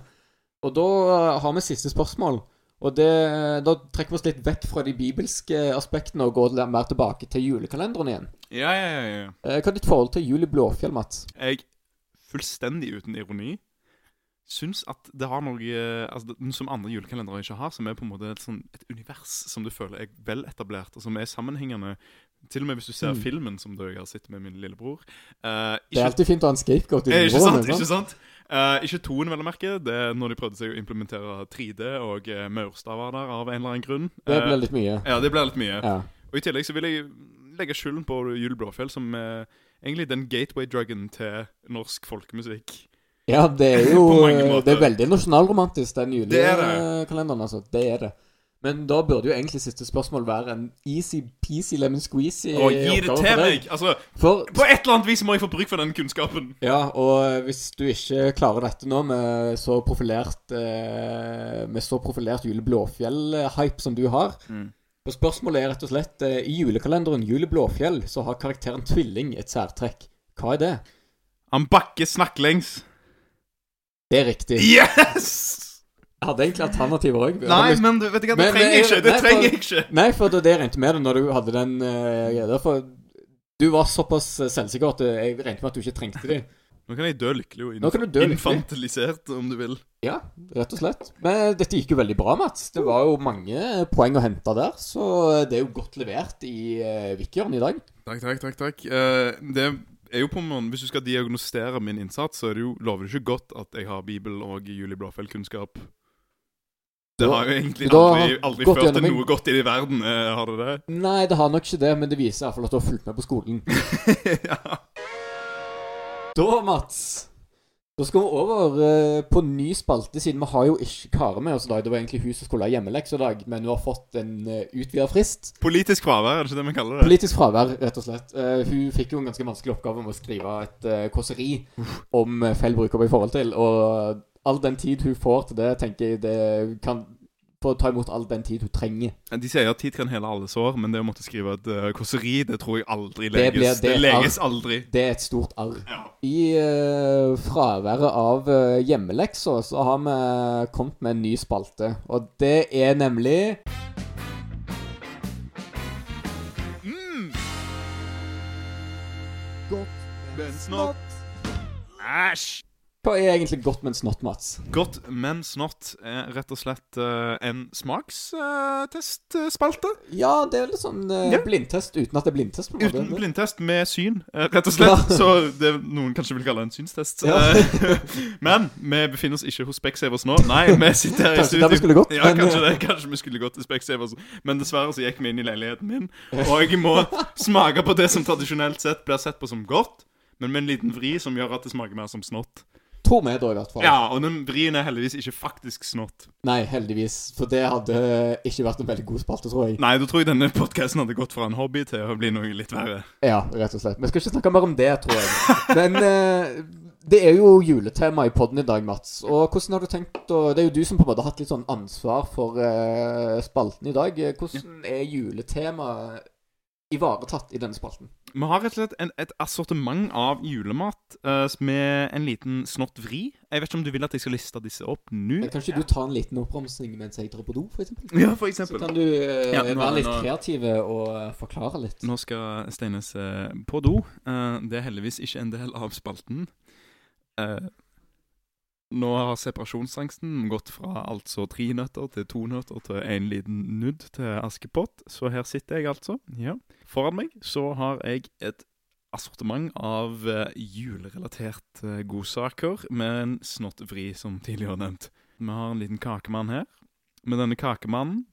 Speaker 1: Og da eh, har vi siste spørsmål. Og det, eh, Da trekker vi oss litt vekk fra de bibelske aspektene og går litt mer tilbake til julekalenderen igjen.
Speaker 2: Ja, ja, ja, ja.
Speaker 1: Eh, Hva er ditt forhold til Jul i Blåfjell, Mats?
Speaker 2: jeg fullstendig uten ironi syns at det har noe eh, altså, det- som andre julekalendere ikke har, som er på en måte et, sånn, et univers som du føler er veletablert, og som er sammenhengende. Til og med hvis du ser
Speaker 1: Mm.
Speaker 2: filmen som du, jeg har sett med min lillebror. Eh,
Speaker 1: Det er
Speaker 2: ikke,
Speaker 1: alltid fint å ha en scapegoat i
Speaker 2: eh, ikke sant?
Speaker 1: julebordet.
Speaker 2: Ikke
Speaker 1: sant?
Speaker 2: sant? Eh, ikke toen, vel å merke. Det er når de prøvde seg å implementere 3D, og uh, Maurstad var der av en eller annen grunn.
Speaker 1: Det
Speaker 2: Eh,
Speaker 1: blir litt mye.
Speaker 2: ja, det ble litt mye.
Speaker 1: Ja.
Speaker 2: Og i tillegg så vil jeg legge skylden på Jul Blåfjell, som er egentlig den gateway-druggen til norsk folkemusikk.
Speaker 1: ja, det er
Speaker 2: På
Speaker 1: jo
Speaker 2: mange måter.
Speaker 1: Det er veldig nasjonalromantisk, den
Speaker 2: Det er det.
Speaker 1: julekalenderen, altså. Det er det. Men da burde jo egentlig siste spørsmål være en easy-peasy lemon squeezy
Speaker 2: Og gi det
Speaker 1: oppgave for deg.
Speaker 2: til meg! Altså,
Speaker 1: For,
Speaker 2: På et eller annet vis må jeg få bruk for den kunnskapen.
Speaker 1: ja, og hvis du ikke klarer dette nå med så
Speaker 2: Mm.
Speaker 1: profilert eh, Med så profilert Jule Blåfjell-hype som du har, Og Spørsmålet er rett og slett eh, I julekalenderen Jul i Blåfjell så har karakteren tvilling et særtrekk. Hva er det?
Speaker 2: Han bakker snakklengs.
Speaker 1: Det er riktig.
Speaker 2: Yes!
Speaker 1: Jeg hadde egentlig alternativer òg.
Speaker 2: Nei, men du vet ikke, det
Speaker 1: Men-
Speaker 2: trenger jeg ikke. Det
Speaker 1: Nei, for-
Speaker 2: trenger jeg ikke.
Speaker 1: Nei, for det, det regnet jeg med det når du hadde den eh, greia. for du var såpass eh, selvsikker at jeg regnet med at du ikke trengte de.
Speaker 2: Nå kan jeg dø lykkelig
Speaker 1: Nå
Speaker 2: og inf
Speaker 1: kan du dø lykkelig.
Speaker 2: infantilisert, om du vil.
Speaker 1: Ja, rett og slett. Men eh, dette gikk jo veldig bra, Mats. Det var jo mange eh, poeng å hente der, så eh, det er jo godt levert i uh, Vikjørn i dag.
Speaker 2: Takk, takk, takk. takk. Eh, det er jo på en måte, Hvis du skal diagnostere min innsats, så er det jo, lover det ikke godt at jeg har Bibel og Julie Blåfeld-kunnskap. Det
Speaker 1: Da-
Speaker 2: har jo egentlig
Speaker 1: da har
Speaker 2: aldri,
Speaker 1: han
Speaker 2: aldri
Speaker 1: gått
Speaker 2: ført til
Speaker 1: gjennom en-
Speaker 2: noe godt i verden. eh, har det det?
Speaker 1: Nei, det har nok ikke det, men det viser i hvert fall at du har fulgt med på skolen.
Speaker 2: ja.
Speaker 1: Da, Mats, da skal vi over eh, på ny spalte, siden vi har jo ikke Kare med oss i dag. Det var egentlig hun som skulle ha hjemmelekse i dag, men hun har fått en uh, utvida frist.
Speaker 2: Politisk fravær, er det ikke det vi kaller det?
Speaker 1: Politisk fravær, rett og slett. Eh, hun fikk jo en ganske vanskelig oppgave om å skrive et uh, kåseri om eh, feil brukere i forhold til, og all den tid hun får til det, tenker jeg det kan få ta imot all den tid hun trenger.
Speaker 2: De sier at tid kan hele alle sår, men det å måtte skrive et eh, kåseri, det tror jeg aldri
Speaker 1: Det
Speaker 2: leges.
Speaker 1: blir-
Speaker 2: Det,
Speaker 1: det er-
Speaker 2: leges aldri.
Speaker 1: Det er et stort arr.
Speaker 2: Ja.
Speaker 1: I eh, fraværet av eh, hjemmelekser så har vi kommet med en ny spalte, og det er nemlig Godt,
Speaker 2: men snott. Æsj!
Speaker 1: Hva er egentlig godt, men snott, Mats?
Speaker 2: Godt, men snott er rett og slett eh, en eh, smakstestspalte.
Speaker 1: Ja, det er litt sånn eh,
Speaker 2: Ja.
Speaker 1: blindtest uten at det er blindtest. på en måte.
Speaker 2: Uten blindtest med syn, eh, rett og slett.
Speaker 1: Ja.
Speaker 2: Så det noen kanskje vil kalle en synstest.
Speaker 1: Ja.
Speaker 2: Eh, Men vi befinner oss ikke hos Specsavers nå. Nei, vi sitter her i
Speaker 1: Kanskje der vi
Speaker 2: studio.
Speaker 1: skulle gått,
Speaker 2: Ja,
Speaker 1: men- eh,
Speaker 2: kanskje det. Kanskje vi skulle gått til Specsavers. Men dessverre så gikk vi inn i leiligheten min, og jeg må smake på det som tradisjonelt sett blir sett på som godt, men med en liten vri som gjør at det smaker mer som snott.
Speaker 1: Tror vi da, i hvert fall.
Speaker 2: Ja, og den vrien er heldigvis ikke faktisk snott.
Speaker 1: Nei, heldigvis. For det hadde ikke vært en veldig god spalte, tror jeg.
Speaker 2: Nei, da tror jeg denne podkasten hadde gått fra en hobby til å bli noe litt verre.
Speaker 1: Ja, rett og slett. Vi skal ikke snakke mer om det, tror jeg. Men eh, det er jo juletema i podden i dag, Mats. Og hvordan har du tenkt å Det er jo du som på en måte har hatt litt sånn ansvar for eh, spalten i dag. Hvordan er juletemaet ivaretatt i denne spalten?
Speaker 2: Vi har rett og slett en, et assortiment av julemat eh, med en liten snott vri. Jeg vet ikke om du vil at jeg skal liste disse opp nå?
Speaker 1: Men Kan ikke du ta en liten oppramsing mens jeg drar på do, for eksempel?
Speaker 2: Ja, for
Speaker 1: Så
Speaker 2: eksempel.
Speaker 1: kan du eh,
Speaker 2: Ja, nå-
Speaker 1: være litt
Speaker 2: nå-
Speaker 1: kreativ og eh, forklare litt.
Speaker 2: Nå skal Steines eh, på do. Eh, det er heldigvis ikke en del av spalten. Eh, nå har separasjonsangsten gått fra altså tre nøtter til to nøtter til en liten nudd til Askepott. Så her sitter jeg altså. Ja. Foran meg så har jeg et assortiment av eh, julerelaterte godsaker med en snott vri, som tidligere nevnt. Vi har en liten kakemann her. Med denne kakemannen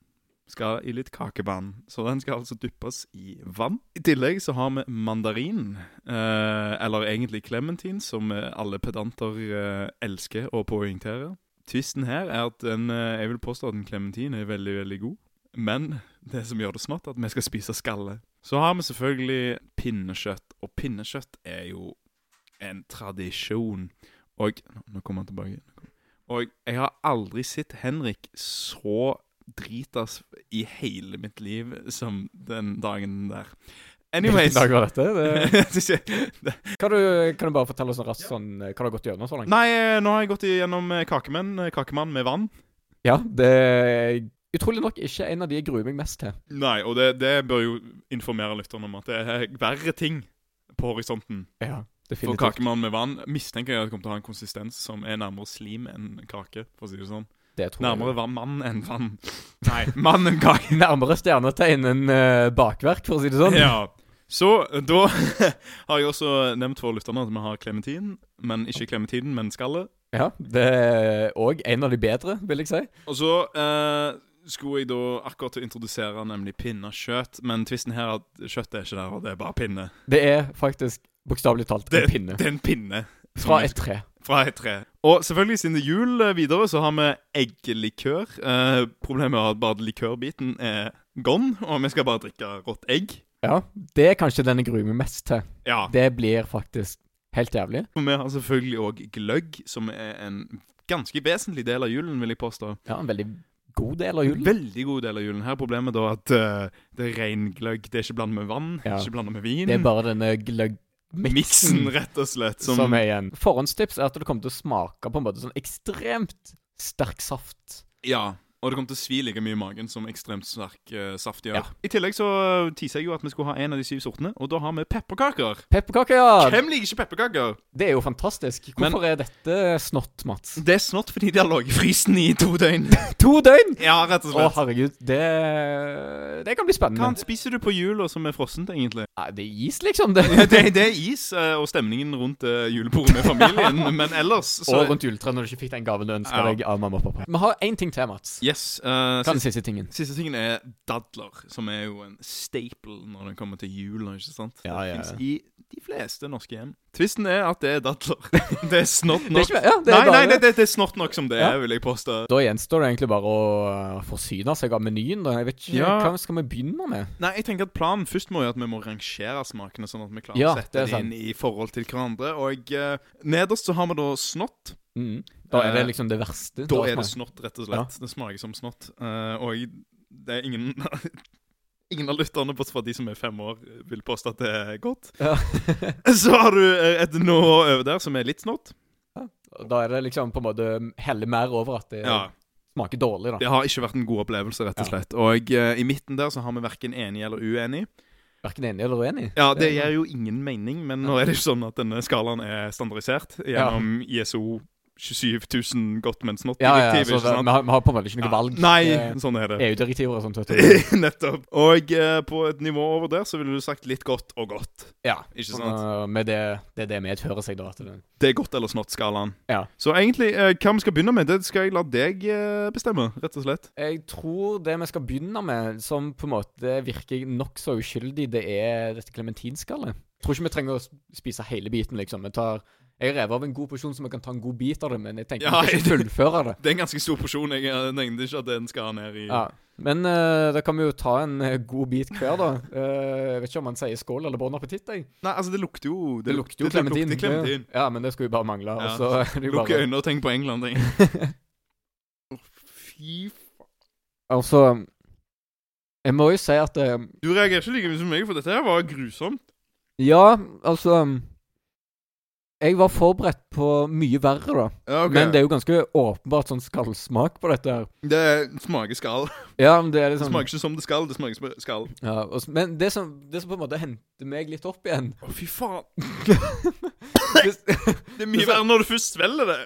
Speaker 2: skal i litt kakevann. Så den skal altså dyppes i vann. I tillegg så har vi mandarin, eh, eller egentlig clementin, som eh, alle pedanter eh, elsker å poengtere. Tvisten her er at den, eh, jeg vil påstå at en clementin er veldig, veldig god. Men det som gjør det snart, er at vi skal spise skalle. Så har vi selvfølgelig pinnekjøtt, og pinnekjøtt er jo en tradisjon. Og Nå kommer han tilbake. Og jeg har aldri sett Henrik så dritas i hele mitt liv som den dagen der. Anyways
Speaker 3: Hvilken dag var dette? Det,
Speaker 2: Nei,
Speaker 3: kan, du, kan du bare fortelle oss en raskt sånn, eh, hva du har gått gjennom så langt?
Speaker 2: eh, nå har jeg gått igjennom eh, Kakemenn, eh, Kakemann med vann.
Speaker 3: Ja, det er utrolig nok ikke en av de jeg gruer meg mest til.
Speaker 2: Nei, og det, det bør jo informere lytterne om at det er verre ting på horisonten.
Speaker 3: Ja,
Speaker 2: For
Speaker 3: definitivt.
Speaker 2: Kakemann med vann mistenker jeg at det kommer til å ha en konsistens som er nærmere slim enn kake. for å si det sånn.
Speaker 3: Det tror jeg.
Speaker 2: Nærmere var mann enn vann. Nei, mann enn kake.
Speaker 3: Nærmere stjernetegn enn eh, bakverk, for å si det sånn.
Speaker 2: Ja. Så eh, da har jeg også nevnt for lytterne at vi har klementin. Men ikke klementinen, men skallet.
Speaker 3: Ja, det er òg en av de bedre, vil jeg si.
Speaker 2: Og så eh, skulle jeg da akkurat til å introdusere nemlig pinnekjøtt. Men tvisten her er at kjøttet er ikke der, og det er bare pinne.
Speaker 3: Det er faktisk bokstavelig talt en pinne
Speaker 2: Det er en pinne. som
Speaker 3: fra
Speaker 2: jeg-
Speaker 3: et tre.
Speaker 2: Fra et tre. Og selvfølgelig, siden det er jul eh, videre, så har vi eggelikør. Eh, problemet er at bare likørbiten er gone, og vi skal bare drikke rått egg.
Speaker 3: Ja, det er kanskje den jeg gruer meg mest til.
Speaker 2: Ja.
Speaker 3: Det blir faktisk helt jævlig.
Speaker 2: Og vi har selvfølgelig òg gløgg, som er en ganske vesentlig del av julen, vil jeg påstå.
Speaker 3: Ja, en veldig
Speaker 1: god del av julen.
Speaker 2: Veldig god del av julen. Her er problemet da at eh, det er reingløgg. Det er ikke blandet med vann,
Speaker 4: Ja.
Speaker 2: ikke blandet med vin.
Speaker 1: Det er bare denne gløgg...
Speaker 2: miksen, rett og slett. Mm. Som,
Speaker 4: som er igjen.
Speaker 1: Forhåndstips er at det kommer til å smake på en måte sånn ekstremt sterk saft.
Speaker 2: Ja, og det kommer til å svi like mye i magen som ekstremt sterk eh, saft gjør.
Speaker 1: Ja.
Speaker 2: I tillegg så eh, teaser jeg jo at vi skulle ha en av de syv sortene, og da har vi pepperkaker.
Speaker 1: Pepperkaker, ja!
Speaker 2: Hvem liker ikke pepperkaker?
Speaker 1: Det er jo fantastisk.
Speaker 2: Men-
Speaker 1: Hvorfor er dette snott, Mats?
Speaker 2: Det er snart fordi de har ligget i frysen i to døgn.
Speaker 1: To døgn!
Speaker 2: ja, rett og
Speaker 1: Å,
Speaker 2: slett.
Speaker 1: herregud. Det, det kan bli
Speaker 2: Hva
Speaker 1: spennende.
Speaker 2: annet spiser du på jula som er frossent, egentlig?
Speaker 1: Nei, det er is, liksom. det.
Speaker 2: Det, det er is eh, og stemningen rundt eh, julebordet med familien, men ellers så
Speaker 1: Og rundt juletreet når du ikke fikk den gaven du ønska
Speaker 2: Ja.
Speaker 1: deg av mamma og pappa. Vi har én ting til, Mats.
Speaker 2: Yes. eh,
Speaker 1: Hva er den siste tingen?
Speaker 2: Siste tingen er dadler, som er jo en staple når det kommer til jula. ikke sant?
Speaker 1: Ja, ja, ja.
Speaker 2: Det finnes i de fleste norske hjem. Tvisten er at det er dadler. Det er snort
Speaker 1: Det er
Speaker 2: nok.
Speaker 1: ikke, ja, det er
Speaker 2: Nei, nei,
Speaker 1: bare-
Speaker 2: det, det, det er snort nok som det
Speaker 1: Ja.
Speaker 2: er, vil jeg påstå.
Speaker 1: Da gjenstår det egentlig bare å øh, forsyne seg av menyen. da. Jeg vet ikke,
Speaker 2: Ja.
Speaker 1: Hva skal vi begynne med?
Speaker 2: Nei, jeg tenker at Planen først må jo at vi må rangere smakene, sånn at vi klarer
Speaker 1: Ja,
Speaker 2: å
Speaker 1: det er
Speaker 2: sette dem inn i forhold til hverandre. Og eh, nederst så har vi da snott.
Speaker 1: Mm. Da er
Speaker 2: Eh,
Speaker 1: det liksom det verste.
Speaker 2: Da er det
Speaker 1: smaker.
Speaker 2: snott, rett og slett. Det smaker som snott. Eh, og det er ingen Ingen av lytterne, bortsett fra de som er fem år, vil påstå at det er godt.
Speaker 1: Ja.
Speaker 2: Så har du eh, et nå over der som er litt snott.
Speaker 1: Da er det liksom på en måte helle mer over at det
Speaker 2: Ja,
Speaker 1: smaker dårlig, da.
Speaker 2: Det har ikke vært en god opplevelse, rett og
Speaker 1: Ja.
Speaker 2: slett. Og eh, i midten der så har vi verken enig eller uenig. Eh,
Speaker 1: Hverken enig eller uenig.
Speaker 2: Ja, Det
Speaker 1: Ja.
Speaker 2: gir jo ingen mening, men nå er det jo sånn at denne skalaen er standardisert gjennom ISO 27 000 godt, men
Speaker 1: Ja, ja,
Speaker 2: snott-direktivet.
Speaker 1: så
Speaker 2: ikke sant?
Speaker 1: vi har, vi har på en måte ikke noe valg.
Speaker 2: Nei,
Speaker 1: Eh,
Speaker 2: sånn er det.
Speaker 1: EU-direktiver og sånt. Vet du.
Speaker 2: Nettopp. Og eh, på et nivå over der så ville du sagt litt godt og godt.
Speaker 1: Ja,
Speaker 2: Ikke
Speaker 1: sånn,
Speaker 2: sant?
Speaker 1: øh, med det, det er det medfører seg, da. At det,
Speaker 2: Det er godt eller snott-skalaen.
Speaker 1: Ja.
Speaker 2: Så egentlig, eh, hva vi skal begynne med, det skal jeg la deg eh, bestemme, rett og slett.
Speaker 1: Jeg tror det vi skal begynne med, som på en måte virker nokså uskyldig, det er dette clementinskallet. Jeg tror ikke vi trenger å s- spise hele biten, liksom. Jeg, tar, jeg rev av en god porsjon, så vi kan ta en god bit av det, men jeg tenker
Speaker 2: Ja,
Speaker 1: vi skal ikke fullføre det.
Speaker 2: Det er en ganske stor porsjon. Jeg eh, nevnte ikke at den skal ned i
Speaker 1: Ja. Men eh, da kan vi jo ta en eh, god bit hver, da. Eh, jeg vet ikke om man sier skål eller bon appetitt. jeg.
Speaker 2: Nei, altså, det lukter jo
Speaker 1: Det lukter jo klementin.
Speaker 2: lukter klementin.
Speaker 1: Ja, men det skulle jo bare mangle.
Speaker 2: Ja.
Speaker 1: Og så er det jo
Speaker 2: Lukk
Speaker 1: bare
Speaker 2: øynene og tenk på England. tenk. Å, Fy faen.
Speaker 1: Altså Jeg må jo si at eh,
Speaker 2: Du reagerer ikke like mye som meg, for dette her var grusomt.
Speaker 1: Ja, altså Jeg var forberedt på mye verre, da.
Speaker 2: Ja, ok.
Speaker 1: Men det er jo ganske åpenbart sånn skallsmak på dette her.
Speaker 2: Det smaker skal.
Speaker 1: Ja, men det er
Speaker 2: Det
Speaker 1: liksom
Speaker 2: smaker ikke som det skal, det smaker som skal.
Speaker 1: ja, og, s- Men det som, det som på en måte henter meg litt opp igjen
Speaker 2: Å, fy faen.
Speaker 1: det,
Speaker 2: Det er mye verre når du først svelger det.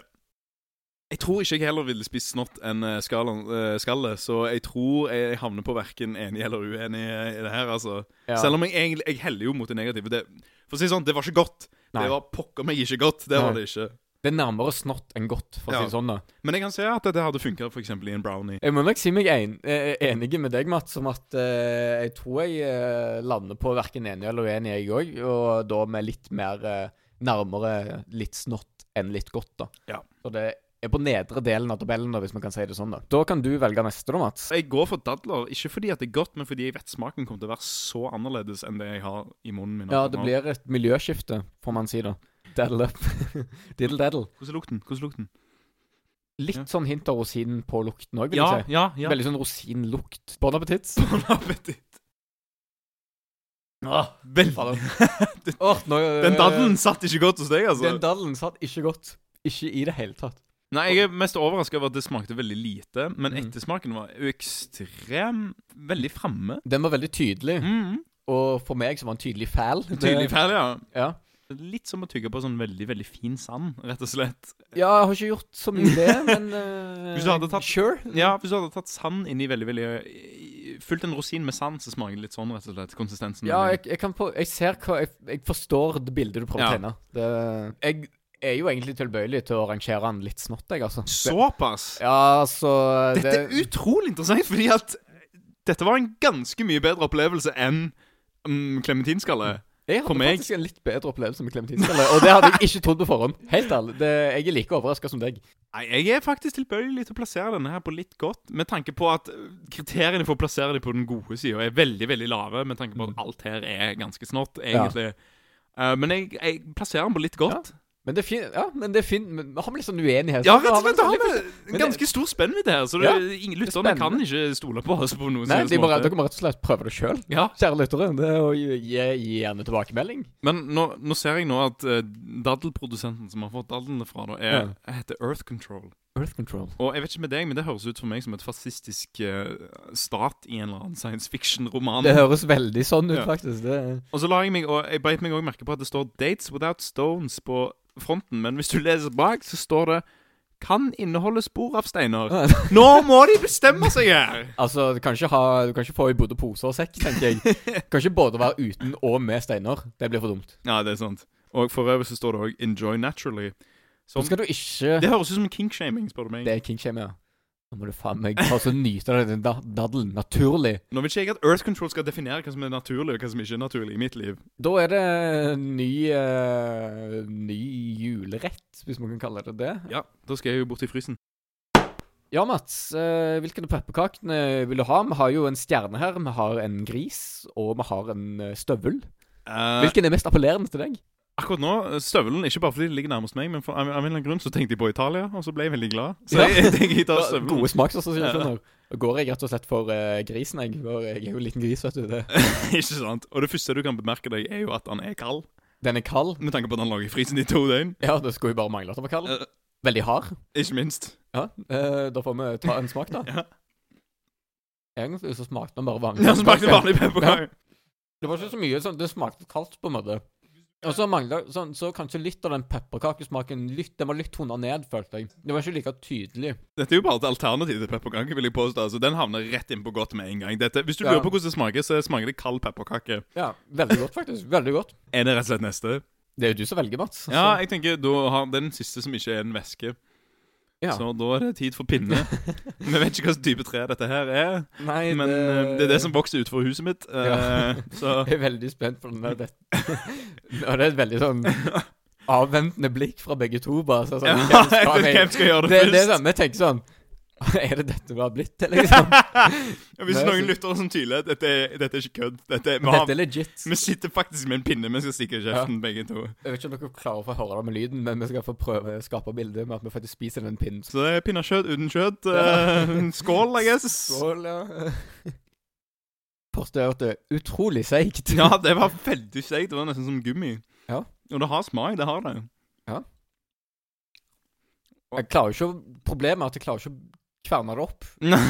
Speaker 2: Jeg tror ikke jeg heller ville spist snott enn eh, skalaen, eh, skallet, så jeg tror jeg havner på verken enig eller uenig eh, i det her, altså.
Speaker 1: ja.
Speaker 2: Selv om jeg egentlig jeg heller jo mot det negative. Det, for å si det sånn, det var ikke godt.
Speaker 1: Nei.
Speaker 2: Det var pokker meg ikke godt. Det var
Speaker 1: Nei.
Speaker 2: det ikke.
Speaker 1: Det er nærmere snott enn godt, for å si det sånn. da
Speaker 2: Men jeg kan se at dette hadde funka f.eks. i en brownie.
Speaker 1: Jeg må nok si meg en, eh, enig med deg, Mats, om at eh, jeg tror jeg eh, lander på verken enig eller uenig, jeg òg. Og da med litt mer eh, nærmere litt snott enn litt godt, da.
Speaker 2: Ja.
Speaker 1: Så det er på nedre delen av tabellen, da, hvis man kan si det sånn. da Da kan du velge neste, da, Mats.
Speaker 2: Jeg går for dadler, ikke fordi at det er godt, men fordi jeg vet smaken kommer til å være så annerledes enn det jeg har i munnen min.
Speaker 1: Ja, det blir et miljøskifte, får man si da. Daddle up. Diddle daddle.
Speaker 2: Hvordan lukter den? Hvordan lukter den?
Speaker 1: Litt
Speaker 2: Ja.
Speaker 1: sånn hint av rosinen på lukten òg, vil
Speaker 2: Ja,
Speaker 1: jeg si.
Speaker 2: ja, ja.
Speaker 1: Veldig sånn rosinlukt. Bon appétit.
Speaker 2: Bon appétit.
Speaker 1: Åh, altså.
Speaker 2: Veldig. Ah, Den daddelen satt ikke godt hos deg, altså.
Speaker 1: Den daddelen satt ikke godt. Ikke i det hele tatt.
Speaker 2: Nei, Jeg er mest overraska over at det smakte veldig lite, men
Speaker 1: Mm.
Speaker 2: ettersmaken var jo ekstrem Veldig framme.
Speaker 1: Den var veldig tydelig,
Speaker 2: Mm.
Speaker 1: og for meg så var den tydelig fæl. Det-
Speaker 2: Tydelig ferdig, ja.
Speaker 1: Ja.
Speaker 2: Litt som å tygge på sånn veldig veldig fin sand, rett og slett.
Speaker 1: ja, jeg har ikke gjort så mye det, men eh,
Speaker 2: Hvis du hadde tatt-
Speaker 1: Sure.
Speaker 2: Ja, Hvis du hadde tatt sand inni veldig, veldig Fulgt en rosin med sand, så smaker det litt sånn, rett og slett. Konsistensen.
Speaker 1: Ja, jeg, jeg kan på Jeg ser hva Jeg, jeg forstår det bildet du prøver å
Speaker 2: Ja.
Speaker 1: tegne. Det, jeg er jo egentlig tilbøyelig til å rangere den litt snott, jeg, altså.
Speaker 2: Såpass!
Speaker 1: Ja, altså
Speaker 2: Dette er utrolig interessant, fordi at dette var en ganske mye bedre opplevelse enn mm, klementinskalle.
Speaker 1: Jeg
Speaker 2: for
Speaker 1: hadde
Speaker 2: meg-
Speaker 1: faktisk en litt bedre opplevelse med klementinskalle, og det hadde jeg ikke trodd på forhånd. Helt ærlig. Det, jeg er like overraska som deg.
Speaker 2: Nei, Jeg er faktisk tilbøyelig til å plassere denne her på litt godt, med tanke på at øh, kriteriene for å plassere dem på den gode sida er veldig veldig lave, med
Speaker 1: Mm.
Speaker 2: tanke på at alt her er ganske snått, egentlig. Eh, men jeg, jeg plasserer den på litt godt.
Speaker 1: Men det er fint, ja, men det er fint men Vi har litt sånn uenighet.
Speaker 2: Ja, rett og slett,
Speaker 1: Vi
Speaker 2: da
Speaker 1: har
Speaker 2: har
Speaker 1: litt
Speaker 2: vi
Speaker 1: sånn-
Speaker 2: en ganske stor spennvidde her, så det,
Speaker 1: Ja,
Speaker 2: ingen- lytterne kan ikke stole på oss på
Speaker 1: Nei,
Speaker 2: noen som helst
Speaker 1: de må,
Speaker 2: måte.
Speaker 1: dere må rett og slett prøve det sjøl,
Speaker 2: Ja,
Speaker 1: kjære lyttere. Det er å gi, gi, gi gjerne tilbakemelding.
Speaker 2: Men nå, nå ser jeg nå at eh, daddelprodusenten som har fått dadlene fra, da, er, heter Earth Control.
Speaker 1: Earth Control.
Speaker 2: Og jeg vet ikke med deg, men det høres ut for meg som et fascistisk eh, stat i en eller annen science fiction-roman.
Speaker 1: Det høres veldig sånn ut,
Speaker 2: Ja.
Speaker 1: faktisk. Det er
Speaker 2: Og så la jeg meg, og jeg beit meg også merke på at det står 'Dates Without Stones' på fronten, men hvis du leser bak, så står det 'Kan inneholde spor av steiner'.
Speaker 1: Ja.
Speaker 2: Nå må de bestemme seg her!
Speaker 1: Altså, du kan ikke, ha, du kan ikke få i både pose og sekk, tenker jeg. Du kan ikke både være uten og med steiner. Det blir for dumt.
Speaker 2: Ja, det er sant. Og for øvrig så står det òg 'Enjoy Naturally'.
Speaker 1: Så
Speaker 2: Som,
Speaker 1: skal du ikke
Speaker 2: det høres ut som kinkshaming, spør du meg.
Speaker 1: Det er kingshaming, ja. Nå må du faen meg ta så nyte av den da- daddelen. Naturlig.
Speaker 2: Nå vil ikke jeg at Earth Control skal definere hva som er naturlig, og hva som ikke er naturlig i mitt liv.
Speaker 1: Da er det ny eh, Ny julerett, hvis man kan kalle det det.
Speaker 2: Ja, Da skal jeg jo bort i frysen.
Speaker 1: Ja, Mats. eh, hvilke pepperkakene eh, vil du ha? Vi har jo en stjerne her. Vi har en gris, og vi har en eh, støvel.
Speaker 2: Eh,
Speaker 1: Hvilken er mest appellerende til deg?
Speaker 2: akkurat nå, eh, støvelen, ikke bare fordi det ligger nærmest meg, men for, av av en eller annen grunn så tenkte jeg på Italia, og så ble jeg veldig glad. Så
Speaker 1: Ja.
Speaker 2: jeg, jeg tenker jeg tar støvelen.
Speaker 1: Gode smaksassosiasjoner. Da Går jeg rett og slett for eh, grisen, jeg. For jeg er jo en liten gris, vet du. Det.
Speaker 2: ikke sant? Og det første du kan bemerke deg, er jo at han er kald.
Speaker 1: Den er kald.
Speaker 2: Med tanke på at han lager frysen i to døgn.
Speaker 1: Ja, det skulle jo bare mangle at den var kald.
Speaker 2: Eh,
Speaker 1: Veldig hard.
Speaker 2: ikke minst.
Speaker 1: Ja, eh, Da får vi ta en smak, da.
Speaker 2: Ja.
Speaker 1: Egentlig så smakte den bare vanlig.
Speaker 2: Han smakte vanlig pepperkake.
Speaker 1: Det var ikke så mye sånn, det smakte kaldt, på en måte. Og så mangla sånn, så kanskje litt av den pepperkakesmaken litt, Den var litt tona ned, følte jeg. Det var ikke like tydelig.
Speaker 2: Dette er jo bare et alternativ til pepperkake, vil jeg påstå. Altså, den havner rett innpå godt med en gang. Dette, hvis du
Speaker 1: Ja.
Speaker 2: lurer på hvordan det smaker, så smaker det kald pepperkake.
Speaker 1: Ja, Veldig godt, faktisk. Veldig godt.
Speaker 2: Er det rett og slett neste?
Speaker 1: Det er jo du som velger, Mats.
Speaker 2: Ja, jeg tenker da har det er den siste som ikke er en væske.
Speaker 1: Ja.
Speaker 2: Så da er det tid for pinne. Vi vet ikke hva slags type tre dette her er,
Speaker 1: Nei,
Speaker 2: men eh, det er det som vokser utenfor huset mitt.
Speaker 1: Ja.
Speaker 2: eh, Så
Speaker 1: Jeg er veldig spent på den der det... Og det er et veldig sånn avventende blikk fra begge to, bare. Så
Speaker 2: ja,
Speaker 1: sånn, hvem skal vi-
Speaker 2: hvem skal gjøre
Speaker 1: det,
Speaker 2: det
Speaker 1: det er
Speaker 2: først?
Speaker 1: sånn, vi tenker sånn Er det dette du har blitt til, liksom?
Speaker 2: Ja, Hvis
Speaker 1: Nei,
Speaker 2: noen
Speaker 1: altså-
Speaker 2: lytter som tydelig, dette, er- dette er ikke kødd. Dette, er- vi, har,
Speaker 1: Dette er legit.
Speaker 2: vi sitter faktisk med en pinne vi skal stikke i kjeften, begge to.
Speaker 1: Jeg vet ikke om dere klarer å få høre det med lyden, men vi skal få prøve å skape bilde med at vi faktisk spiser den pinnen.
Speaker 2: Så det er pinnekjøtt uten kjøtt.
Speaker 1: Ja.
Speaker 2: eh, skål, I guess.
Speaker 1: Skål, ja. Første er at det er utrolig seigt.
Speaker 2: Ja, det var veldig seigt. Det var nesten som gummi.
Speaker 1: Ja.
Speaker 2: Og det har smak, det har det.
Speaker 1: Jeg klarer jo ikke å, problemet er at jeg klarer ikke å kverne det opp.
Speaker 2: Nei,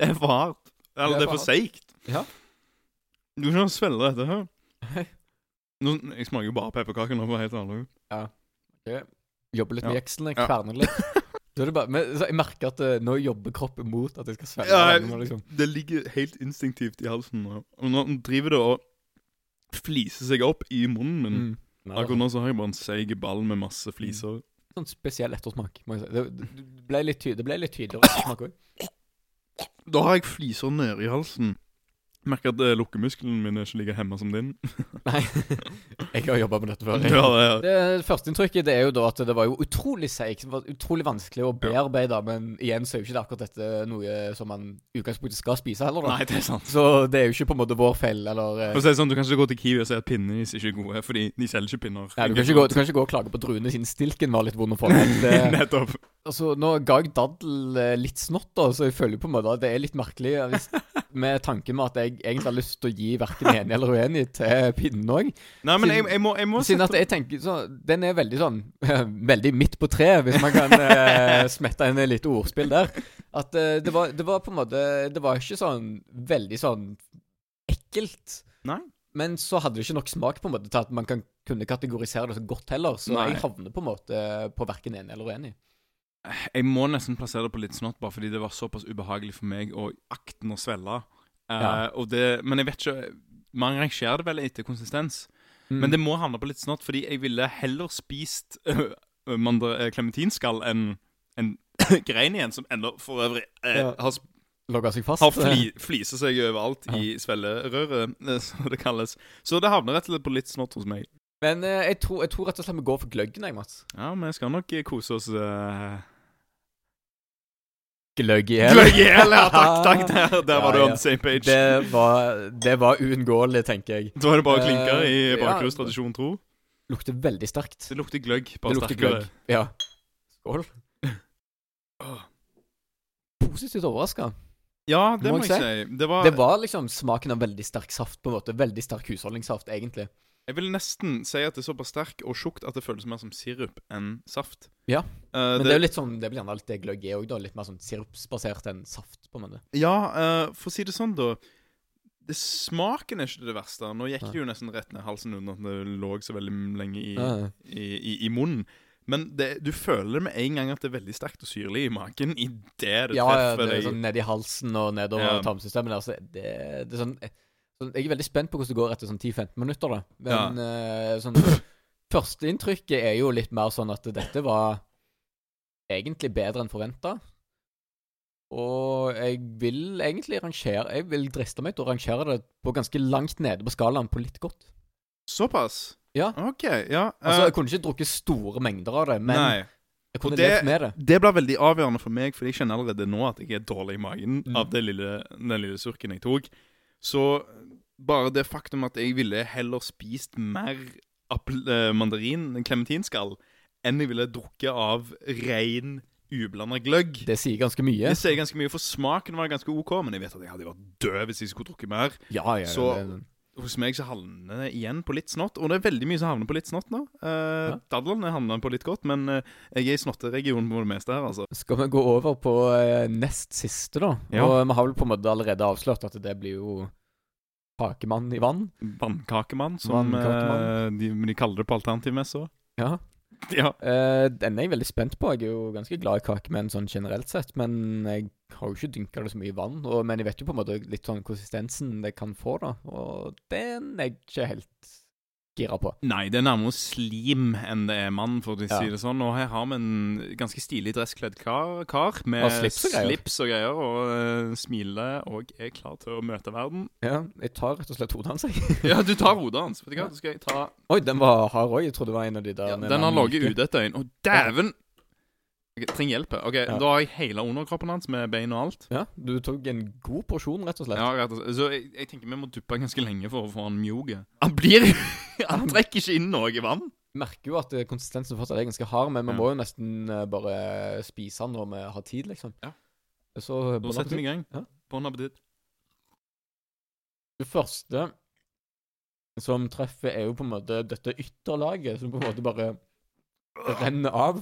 Speaker 2: det er for hardt. Eller
Speaker 1: Det er
Speaker 2: det er
Speaker 1: for
Speaker 2: for seigt.
Speaker 1: Ja.
Speaker 2: Du kan ikke svelge dette her.
Speaker 1: Nei.
Speaker 2: Nå, jeg smaker jo bare pepperkaker nå, for å være helt ærlig.
Speaker 1: Jobbe litt med
Speaker 2: Ja.
Speaker 1: jekslene,
Speaker 2: Ja.
Speaker 1: kverne det litt. Da er det bare, men så jeg merker at eh, nå jobber kroppen mot at jeg skal svelge.
Speaker 2: Ja,
Speaker 1: den, og liksom.
Speaker 2: Det ligger helt instinktivt i halsen. nå. Og nå driver det og fliser seg opp i munnen min.
Speaker 1: Mm. Nei, det Mm.
Speaker 2: Akkurat
Speaker 1: var
Speaker 2: nå så har jeg bare en seig ball med masse fliser.
Speaker 1: en sånn spesiell ettersmak, må jeg si. Det, det- det ble litt, ty det ble litt tydeligere ettersmak òg.
Speaker 2: Da har jeg fliser nede i halsen. Merker at eh, lukkemuskelen min er ikke like hemma som din.
Speaker 1: Nei, jeg har jobba med dette før.
Speaker 2: Du har det, ja.
Speaker 1: Det Førsteinntrykket det er jo da at det var jo utrolig seigt. det var Utrolig vanskelig å bearbeide. Men igjen så er jo ikke det akkurat dette noe som man i utgangspunktet skal spise heller. da
Speaker 2: Nei, det er sant.
Speaker 1: Så det er jo ikke på en måte vår feil, eller eh,
Speaker 2: For å si det sånn, Du kan ikke gå til Kiwi og si at pinneis ikke er gode, fordi de selger ikke
Speaker 1: Nei,
Speaker 2: pinner.
Speaker 1: du kan, ikke gå, du kan ikke gå og klage på druene siden stilken var litt vond å få. men det-
Speaker 2: Nettopp.
Speaker 1: Altså, nå ga jeg daddel eh, litt snott, da, så jeg føler jo på en måte at det er litt merkelig. ja, Hvis, med tanken med at jeg egentlig har lyst til å gi verken enig eller uenig til pinnen òg.
Speaker 2: Nei, men jeg,
Speaker 1: Siden-
Speaker 2: jeg må, jeg må
Speaker 1: Siden at jeg tenker så, Den er veldig sånn Veldig midt på treet, hvis man kan eh, smette inn et lite ordspill der. At eh, det, var, det var på en måte Det var ikke sånn veldig sånn ekkelt.
Speaker 2: Nei.
Speaker 1: Men så hadde det ikke nok smak på en måte til at man kan kunne kategorisere det så godt heller. Så
Speaker 2: Nei.
Speaker 1: jeg havner på en måte på verken enig eller uenig.
Speaker 2: jeg må nesten plassere det på litt snott, bare fordi det var såpass ubehagelig for meg å akten å svelge. Eh,
Speaker 1: Ja.
Speaker 2: og det, men jeg vet ikke Man rangerer det vel etter konsistens.
Speaker 1: Mm.
Speaker 2: Men det må havne på litt snott, fordi jeg ville heller spist øh, øh, mandar- øh, klementinskall enn en grein igjen, som ennå for øvrig eh,
Speaker 1: Ja.
Speaker 2: har, sp-
Speaker 1: Logga seg fast.
Speaker 2: har fli, fliser seg overalt
Speaker 1: Altså, Ja.
Speaker 2: i svellerøret, eh, som det kalles. Så det havner rett og slett på litt snott hos meg.
Speaker 1: Men eh, jeg, tror, jeg tror rett og slett vi går for gløggen, jeg, Mats.
Speaker 2: Ja, men jeg skal nok eh, kose oss eh,
Speaker 1: Gløgg i
Speaker 2: Du er gæren! Ja, takk, takk. Der, der var
Speaker 1: Ja,
Speaker 2: du on
Speaker 1: ja.
Speaker 2: the same page.
Speaker 1: Det var, det var uunngåelig, tenker jeg.
Speaker 2: Da er det bare å
Speaker 1: Eh,
Speaker 2: klinke i
Speaker 1: ja.
Speaker 2: bakrus tradisjon tro.
Speaker 1: lukter veldig sterkt.
Speaker 2: Det lukter gløgg,
Speaker 1: Det
Speaker 2: bare
Speaker 1: lukter
Speaker 2: sterkere.
Speaker 1: gløgg. Ja. Skål.
Speaker 2: Åh.
Speaker 1: Positivt overraska.
Speaker 2: Ja, det
Speaker 1: Må
Speaker 2: må jeg
Speaker 1: jeg
Speaker 2: si. Det var,
Speaker 1: Det var liksom smaken av veldig sterk saft, på en måte. Veldig sterk husholdningssaft, egentlig.
Speaker 2: Jeg vil nesten si at det er såpass sterk og tjukt at det føles mer som sirup enn saft.
Speaker 1: Ja,
Speaker 2: Eh,
Speaker 1: Men det,
Speaker 2: det,
Speaker 1: er jo litt sånn, det blir gjerne litt det gløgg er òg, da. Litt mer sånn sirupsbasert enn saft, på en måte.
Speaker 2: Ja, eh, for å si det sånn, da. Det, smaken er ikke det verste. Nå gikk
Speaker 1: Nei.
Speaker 2: det jo nesten rett ned halsen uten at det lå så veldig lenge i,
Speaker 1: Ja.
Speaker 2: i, i, i munnen. Men det, du føler med en gang at det er veldig sterkt og syrlig i magen idet det
Speaker 1: Ja, ja,
Speaker 2: treffer
Speaker 1: det er
Speaker 2: deg.
Speaker 1: sånn nedi halsen og nedover
Speaker 2: Ja.
Speaker 1: tarmsystemet. Altså, det, det er sånn, sånn Jeg er veldig spent på hvordan det går etter sånn 10-15 minutter, da. Men eh, sånn Førsteinntrykket er jo litt mer sånn at dette var egentlig bedre enn forventa. Og jeg vil egentlig rangere Jeg vil driste meg til å rangere det på ganske langt nede på skalaen på litt godt.
Speaker 2: Såpass?
Speaker 1: Ja.
Speaker 2: OK. Ja.
Speaker 1: Altså,
Speaker 2: eh,
Speaker 1: jeg kunne ikke drukket store mengder av det, men
Speaker 2: nei.
Speaker 1: jeg kunne
Speaker 2: og det-
Speaker 1: levd med det.
Speaker 2: Det blir veldig avgjørende for meg, for jeg kjenner allerede nå at jeg er dårlig i magen
Speaker 1: Mm.
Speaker 2: av det lille, den lille surken jeg tok. Så bare det faktum at jeg ville heller spist mer apel, eh, mandarin, klementinskall, enn jeg ville drukket av ren, ublanda gløgg.
Speaker 1: Det sier ganske mye.
Speaker 2: Det sier ganske mye, for smaken var ganske OK, men jeg vet at jeg hadde vært død hvis jeg skulle drukket mer.
Speaker 1: Ja, ja,
Speaker 2: Så-
Speaker 1: det,
Speaker 2: Hos meg så havner det igjen på litt snott, og det er veldig mye som havner på litt snott nå. Eh,
Speaker 1: Ja.
Speaker 2: Dadlene havner på litt godt, men eh, jeg er i snotteregionen på det meste her, altså.
Speaker 1: Skal vi gå over på eh, nest siste, da?
Speaker 2: Ja.
Speaker 1: Og vi har vel på en måte allerede avslørt at det blir jo Hakemann i vann.
Speaker 2: Vannkakemann, som
Speaker 1: Vannkakemann.
Speaker 2: eh, de, de kaller det på alternativmessa. også.
Speaker 1: Ja.
Speaker 2: Ja.
Speaker 1: Eh, denne er jeg veldig spent på. Jeg er jo ganske glad i kakemenn sånn generelt sett, men jeg har jo ikke dynka det så mye i vann. Og, men jeg vet jo på en måte litt sånn konsistensen det kan få, da. Og den er jeg ikke helt gira på.
Speaker 2: Nei, det er nærmere slim enn det er mann, for å
Speaker 1: Ja.
Speaker 2: si det sånn. Og her har vi en ganske stilig dresskledd kar, kar med
Speaker 1: Og slips og greier.
Speaker 2: slips og greier, og eh, smiler og er klar til å møte verden.
Speaker 1: Ja, jeg tar rett og slett hodet hans, jeg.
Speaker 2: Ja, du tar hodet hans. Vet du hva, så skal jeg ta
Speaker 1: Oi, den var hard òg. Jeg trodde det var en av de der
Speaker 2: ja,
Speaker 1: med
Speaker 2: Den har
Speaker 1: lang
Speaker 2: ligget
Speaker 1: myke.
Speaker 2: ute et døgn. Å, dæven! Jeg trenger hjelp. her. OK,
Speaker 1: Ja.
Speaker 2: da har jeg hele underkroppen hans med bein og alt.
Speaker 1: Ja, du tok en god porsjon, rett og slett.
Speaker 2: Ja, rett og slett. Så jeg, jeg tenker vi må duppe ganske lenge for å få han mjuk. Han blir Han trekker ikke inn noe vann.
Speaker 1: merker jo at eh, konsistensen fortsatt er ganske hard, men vi
Speaker 2: Ja.
Speaker 1: må jo nesten eh, bare spise den når vi har tid, liksom.
Speaker 2: Ja.
Speaker 1: Så eh,
Speaker 2: Da
Speaker 1: bon
Speaker 2: setter vi
Speaker 1: appétit.
Speaker 2: i gang.
Speaker 1: Ja.
Speaker 2: Bon appétit.
Speaker 1: Det første som treffer, er jo på en måte dette ytterlaget, som på en måte bare renner av.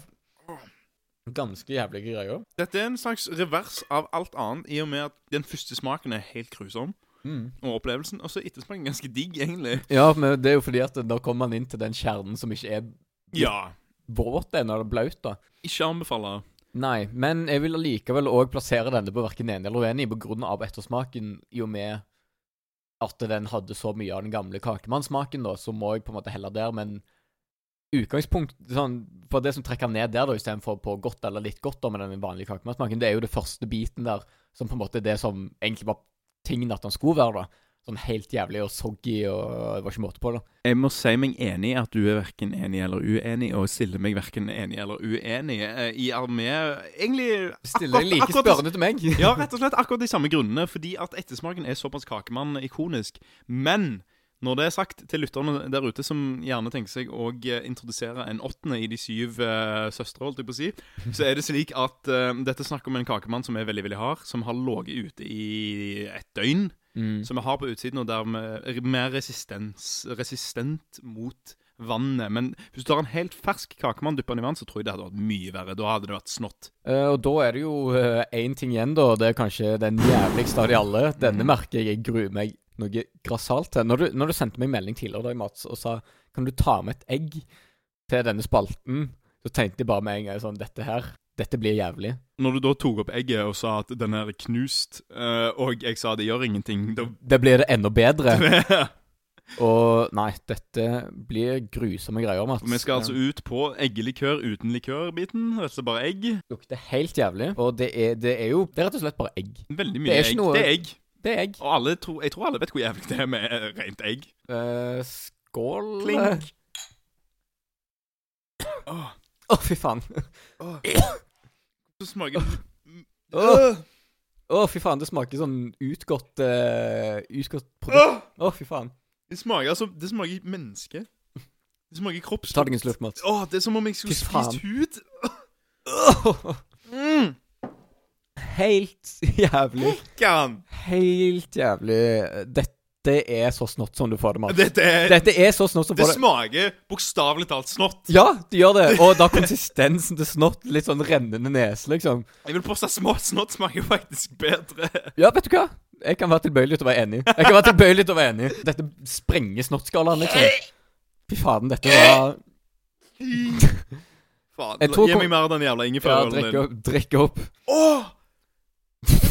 Speaker 1: Ganske jævlige greier.
Speaker 2: Dette er en slags revers av alt annet, i og med at den første smaken er helt grusom, og opplevelsen, og så er ettersmaken ganske digg, egentlig.
Speaker 1: Ja, men det er jo fordi at da kommer man inn til den kjernen som ikke er
Speaker 2: Ja.
Speaker 1: våt ennå, eller blaut, da.
Speaker 2: Ikke anbefale.
Speaker 1: Nei, men jeg vil allikevel òg plassere denne på verken enig eller uenig på grunn av ettersmaken, i og med at den hadde så mye av den gamle kakemannssmaken, da, så må jeg på en måte heller der, men utgangspunkt sånn, For det som trekker ned der, da, istedenfor på godt eller litt godt da, med den vanlige kakemannsmaken, det er jo det første biten der som på en måte er det som egentlig var tingen at den skulle være, da. Sånn helt jævlig og soggy og det var ikke måte på, da.
Speaker 2: Jeg må si meg enig i at du er verken enig eller uenig, og stiller meg verken enig eller uenig eh, i armé Egentlig
Speaker 1: Stiller deg like spørrende til meg.
Speaker 2: Ja, rett og slett akkurat de samme grunnene, fordi at ettersmaken er såpass kakemann-ikonisk. Men når det er sagt til lytterne der ute som gjerne tenker seg å eh, introdusere en åttende i de syv eh, søstre, holdt jeg på å si, så er det slik at eh, dette er snakk om en kakemann som er veldig veldig hard, som har ligget ute i et døgn,
Speaker 1: Mm.
Speaker 2: som er hard på utsiden og dermed er mer resistens, resistent mot vannet. Men hvis du tar en helt fersk kakemann, dypper den i vann, så tror jeg det hadde vært mye verre. Da hadde det vært snott.
Speaker 1: Eh, og da er det jo én ting igjen, da. og Det er kanskje den jævligste av de alle.
Speaker 2: Mhm.
Speaker 1: Denne merker jeg jeg gruer meg noe grassat til. Når du, når du sendte meg melding tidligere i dag, Mats, og sa kan du ta med et egg til denne spalten, så tenkte jeg bare med en gang sånn Dette her, dette blir jævlig.
Speaker 2: Når du da tok opp egget og sa at den er knust, eh, og jeg sa det gjør ingenting da
Speaker 1: Det blir det enda bedre. Og nei, dette blir grusomme greier, Mats.
Speaker 2: For Vi skal altså ut på eggelikør uten likørbiten. Altså bare egg.
Speaker 1: Det lukter helt jævlig. Og det er, det er jo Det er rett og slett bare egg.
Speaker 2: Veldig
Speaker 1: Det
Speaker 2: mye
Speaker 1: er ikke
Speaker 2: egg.
Speaker 1: noe-
Speaker 2: Det er egg.
Speaker 1: Det er egg.
Speaker 2: Og alle tror, jeg tror alle vet hvor jævlig det er med eh, rent egg.
Speaker 1: Eh, skål
Speaker 2: Klink. Åh,
Speaker 1: Å, fy faen.
Speaker 2: åh. Så smaker det
Speaker 1: Åh. Å, fy faen, det smaker sånn utgått eh, Utgått produkt.
Speaker 2: Åh!
Speaker 1: Å, fy faen.
Speaker 2: Det smaker altså Det smaker menneske. Det Det smaker kroppslukt.
Speaker 1: Ta deg en slurk, Mats.
Speaker 2: Åh, det er som om jeg skulle
Speaker 1: Fy faen.
Speaker 2: spist hud. Mm.
Speaker 1: Helt jævlig.
Speaker 2: Kan.
Speaker 1: Helt jævlig. Dette er så snott som du får det, Mats.
Speaker 2: Dette er Det,
Speaker 1: Dette er så snott som får det.
Speaker 2: smaker bokstavelig talt snott.
Speaker 1: Ja, det gjør det. Og da konsistensen til snott. Litt sånn rennende nese, liksom.
Speaker 2: Jeg vil påstå at små snott smaker faktisk bedre.
Speaker 1: Ja, vet du hva? Jeg kan være tilbøyelig til å være enig. Jeg kan være tilbøyelig til å være enig. Dette sprenger snottskalaen, liksom. Fy faen, dette var
Speaker 2: Faen.
Speaker 1: Jeg tror
Speaker 2: Gi
Speaker 1: kom-
Speaker 2: meg mer av den jævla
Speaker 1: Ja,
Speaker 2: ingefærølen
Speaker 1: drikke
Speaker 2: din.
Speaker 1: opp. Drikke opp.
Speaker 2: Åh!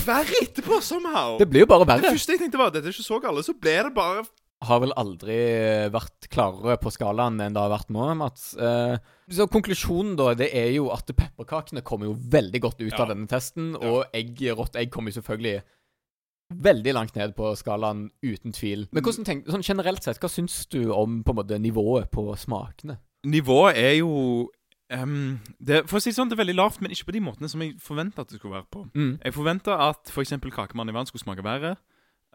Speaker 2: Verre etterpå, somehow.
Speaker 1: Det blir jo bare
Speaker 2: Det
Speaker 1: verre.
Speaker 2: første jeg tenkte, var at dette er ikke så galt. Så ble det bare
Speaker 1: Har vel aldri vært klarere på skalaen enn det har vært nå, Mats. Eh, Så konklusjonen, da, det er jo at pepperkakene kommer jo veldig godt ut
Speaker 2: Ja.
Speaker 1: av denne testen. Og egg, rått egg kommer jo selvfølgelig veldig langt ned på skalaen, uten tvil.
Speaker 2: Mm.
Speaker 1: Men hvordan tenk, sånn generelt sett, hva syns du om på en måte nivået på smakene?
Speaker 2: Nivået er jo ehm, det, For å si det sånn, det er veldig lavt, men ikke på de måtene som jeg forventa at det skulle være på.
Speaker 1: Mm.
Speaker 2: Jeg forventa at f.eks. kakemann i vann skulle smake verre.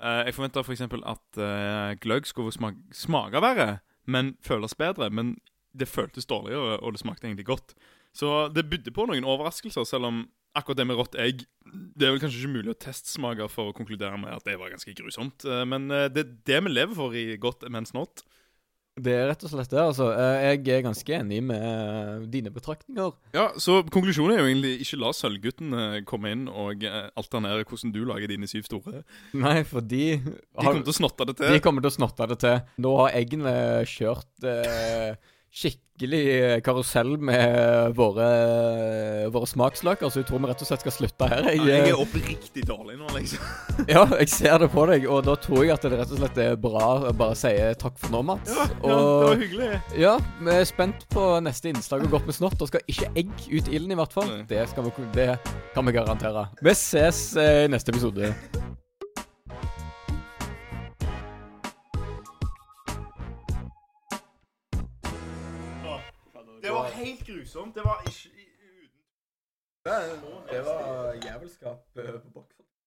Speaker 2: Eh, jeg forventa f.eks. at eh, gløgg skulle smake, smake verre, men føles bedre. Men det føltes dårligere, og det smakte egentlig godt. Så det bydde på noen overraskelser, selv om akkurat det med rått egg Det er vel kanskje ikke mulig å testsmake for å konkludere med at det var ganske grusomt. eh, men eh, det er det vi lever for i godt, men snått.
Speaker 1: Det er rett og slett det, altså. Eh, Jeg er ganske enig med eh, dine betraktninger.
Speaker 2: Ja, så konklusjonen er jo egentlig ikke la sølvgutten eh, komme inn og eh, alternere hvordan du lager dine syv store.
Speaker 1: Nei, for de
Speaker 2: De
Speaker 1: har-
Speaker 2: kommer til å snotte det
Speaker 1: de
Speaker 2: til.
Speaker 1: kommer til å snotte det til. Nå har eggene kjørt eh, skikkelig karusell med våre, våre smaksløker, så jeg tror vi rett og slett skal slutte her. Jeg, eh,
Speaker 2: Ja, Jeg er oppriktig dårlig nå, liksom.
Speaker 1: ja, jeg ser det på deg, og da tror jeg at det rett og slett er bra å bare si takk for nå, Mats.
Speaker 2: Ja, ja, det var
Speaker 1: og
Speaker 2: hyggelig.
Speaker 1: ja, vi er spent på neste innslag og godt med snott. Og skal ikke egg ut i ilden, i hvert fall.
Speaker 2: Nei.
Speaker 1: Det, skal vi, det kan vi garantere. Vi ses eh, i neste episode.
Speaker 2: Det var helt grusomt. Det var ikke
Speaker 1: Det var eh, jævelskap på boksen.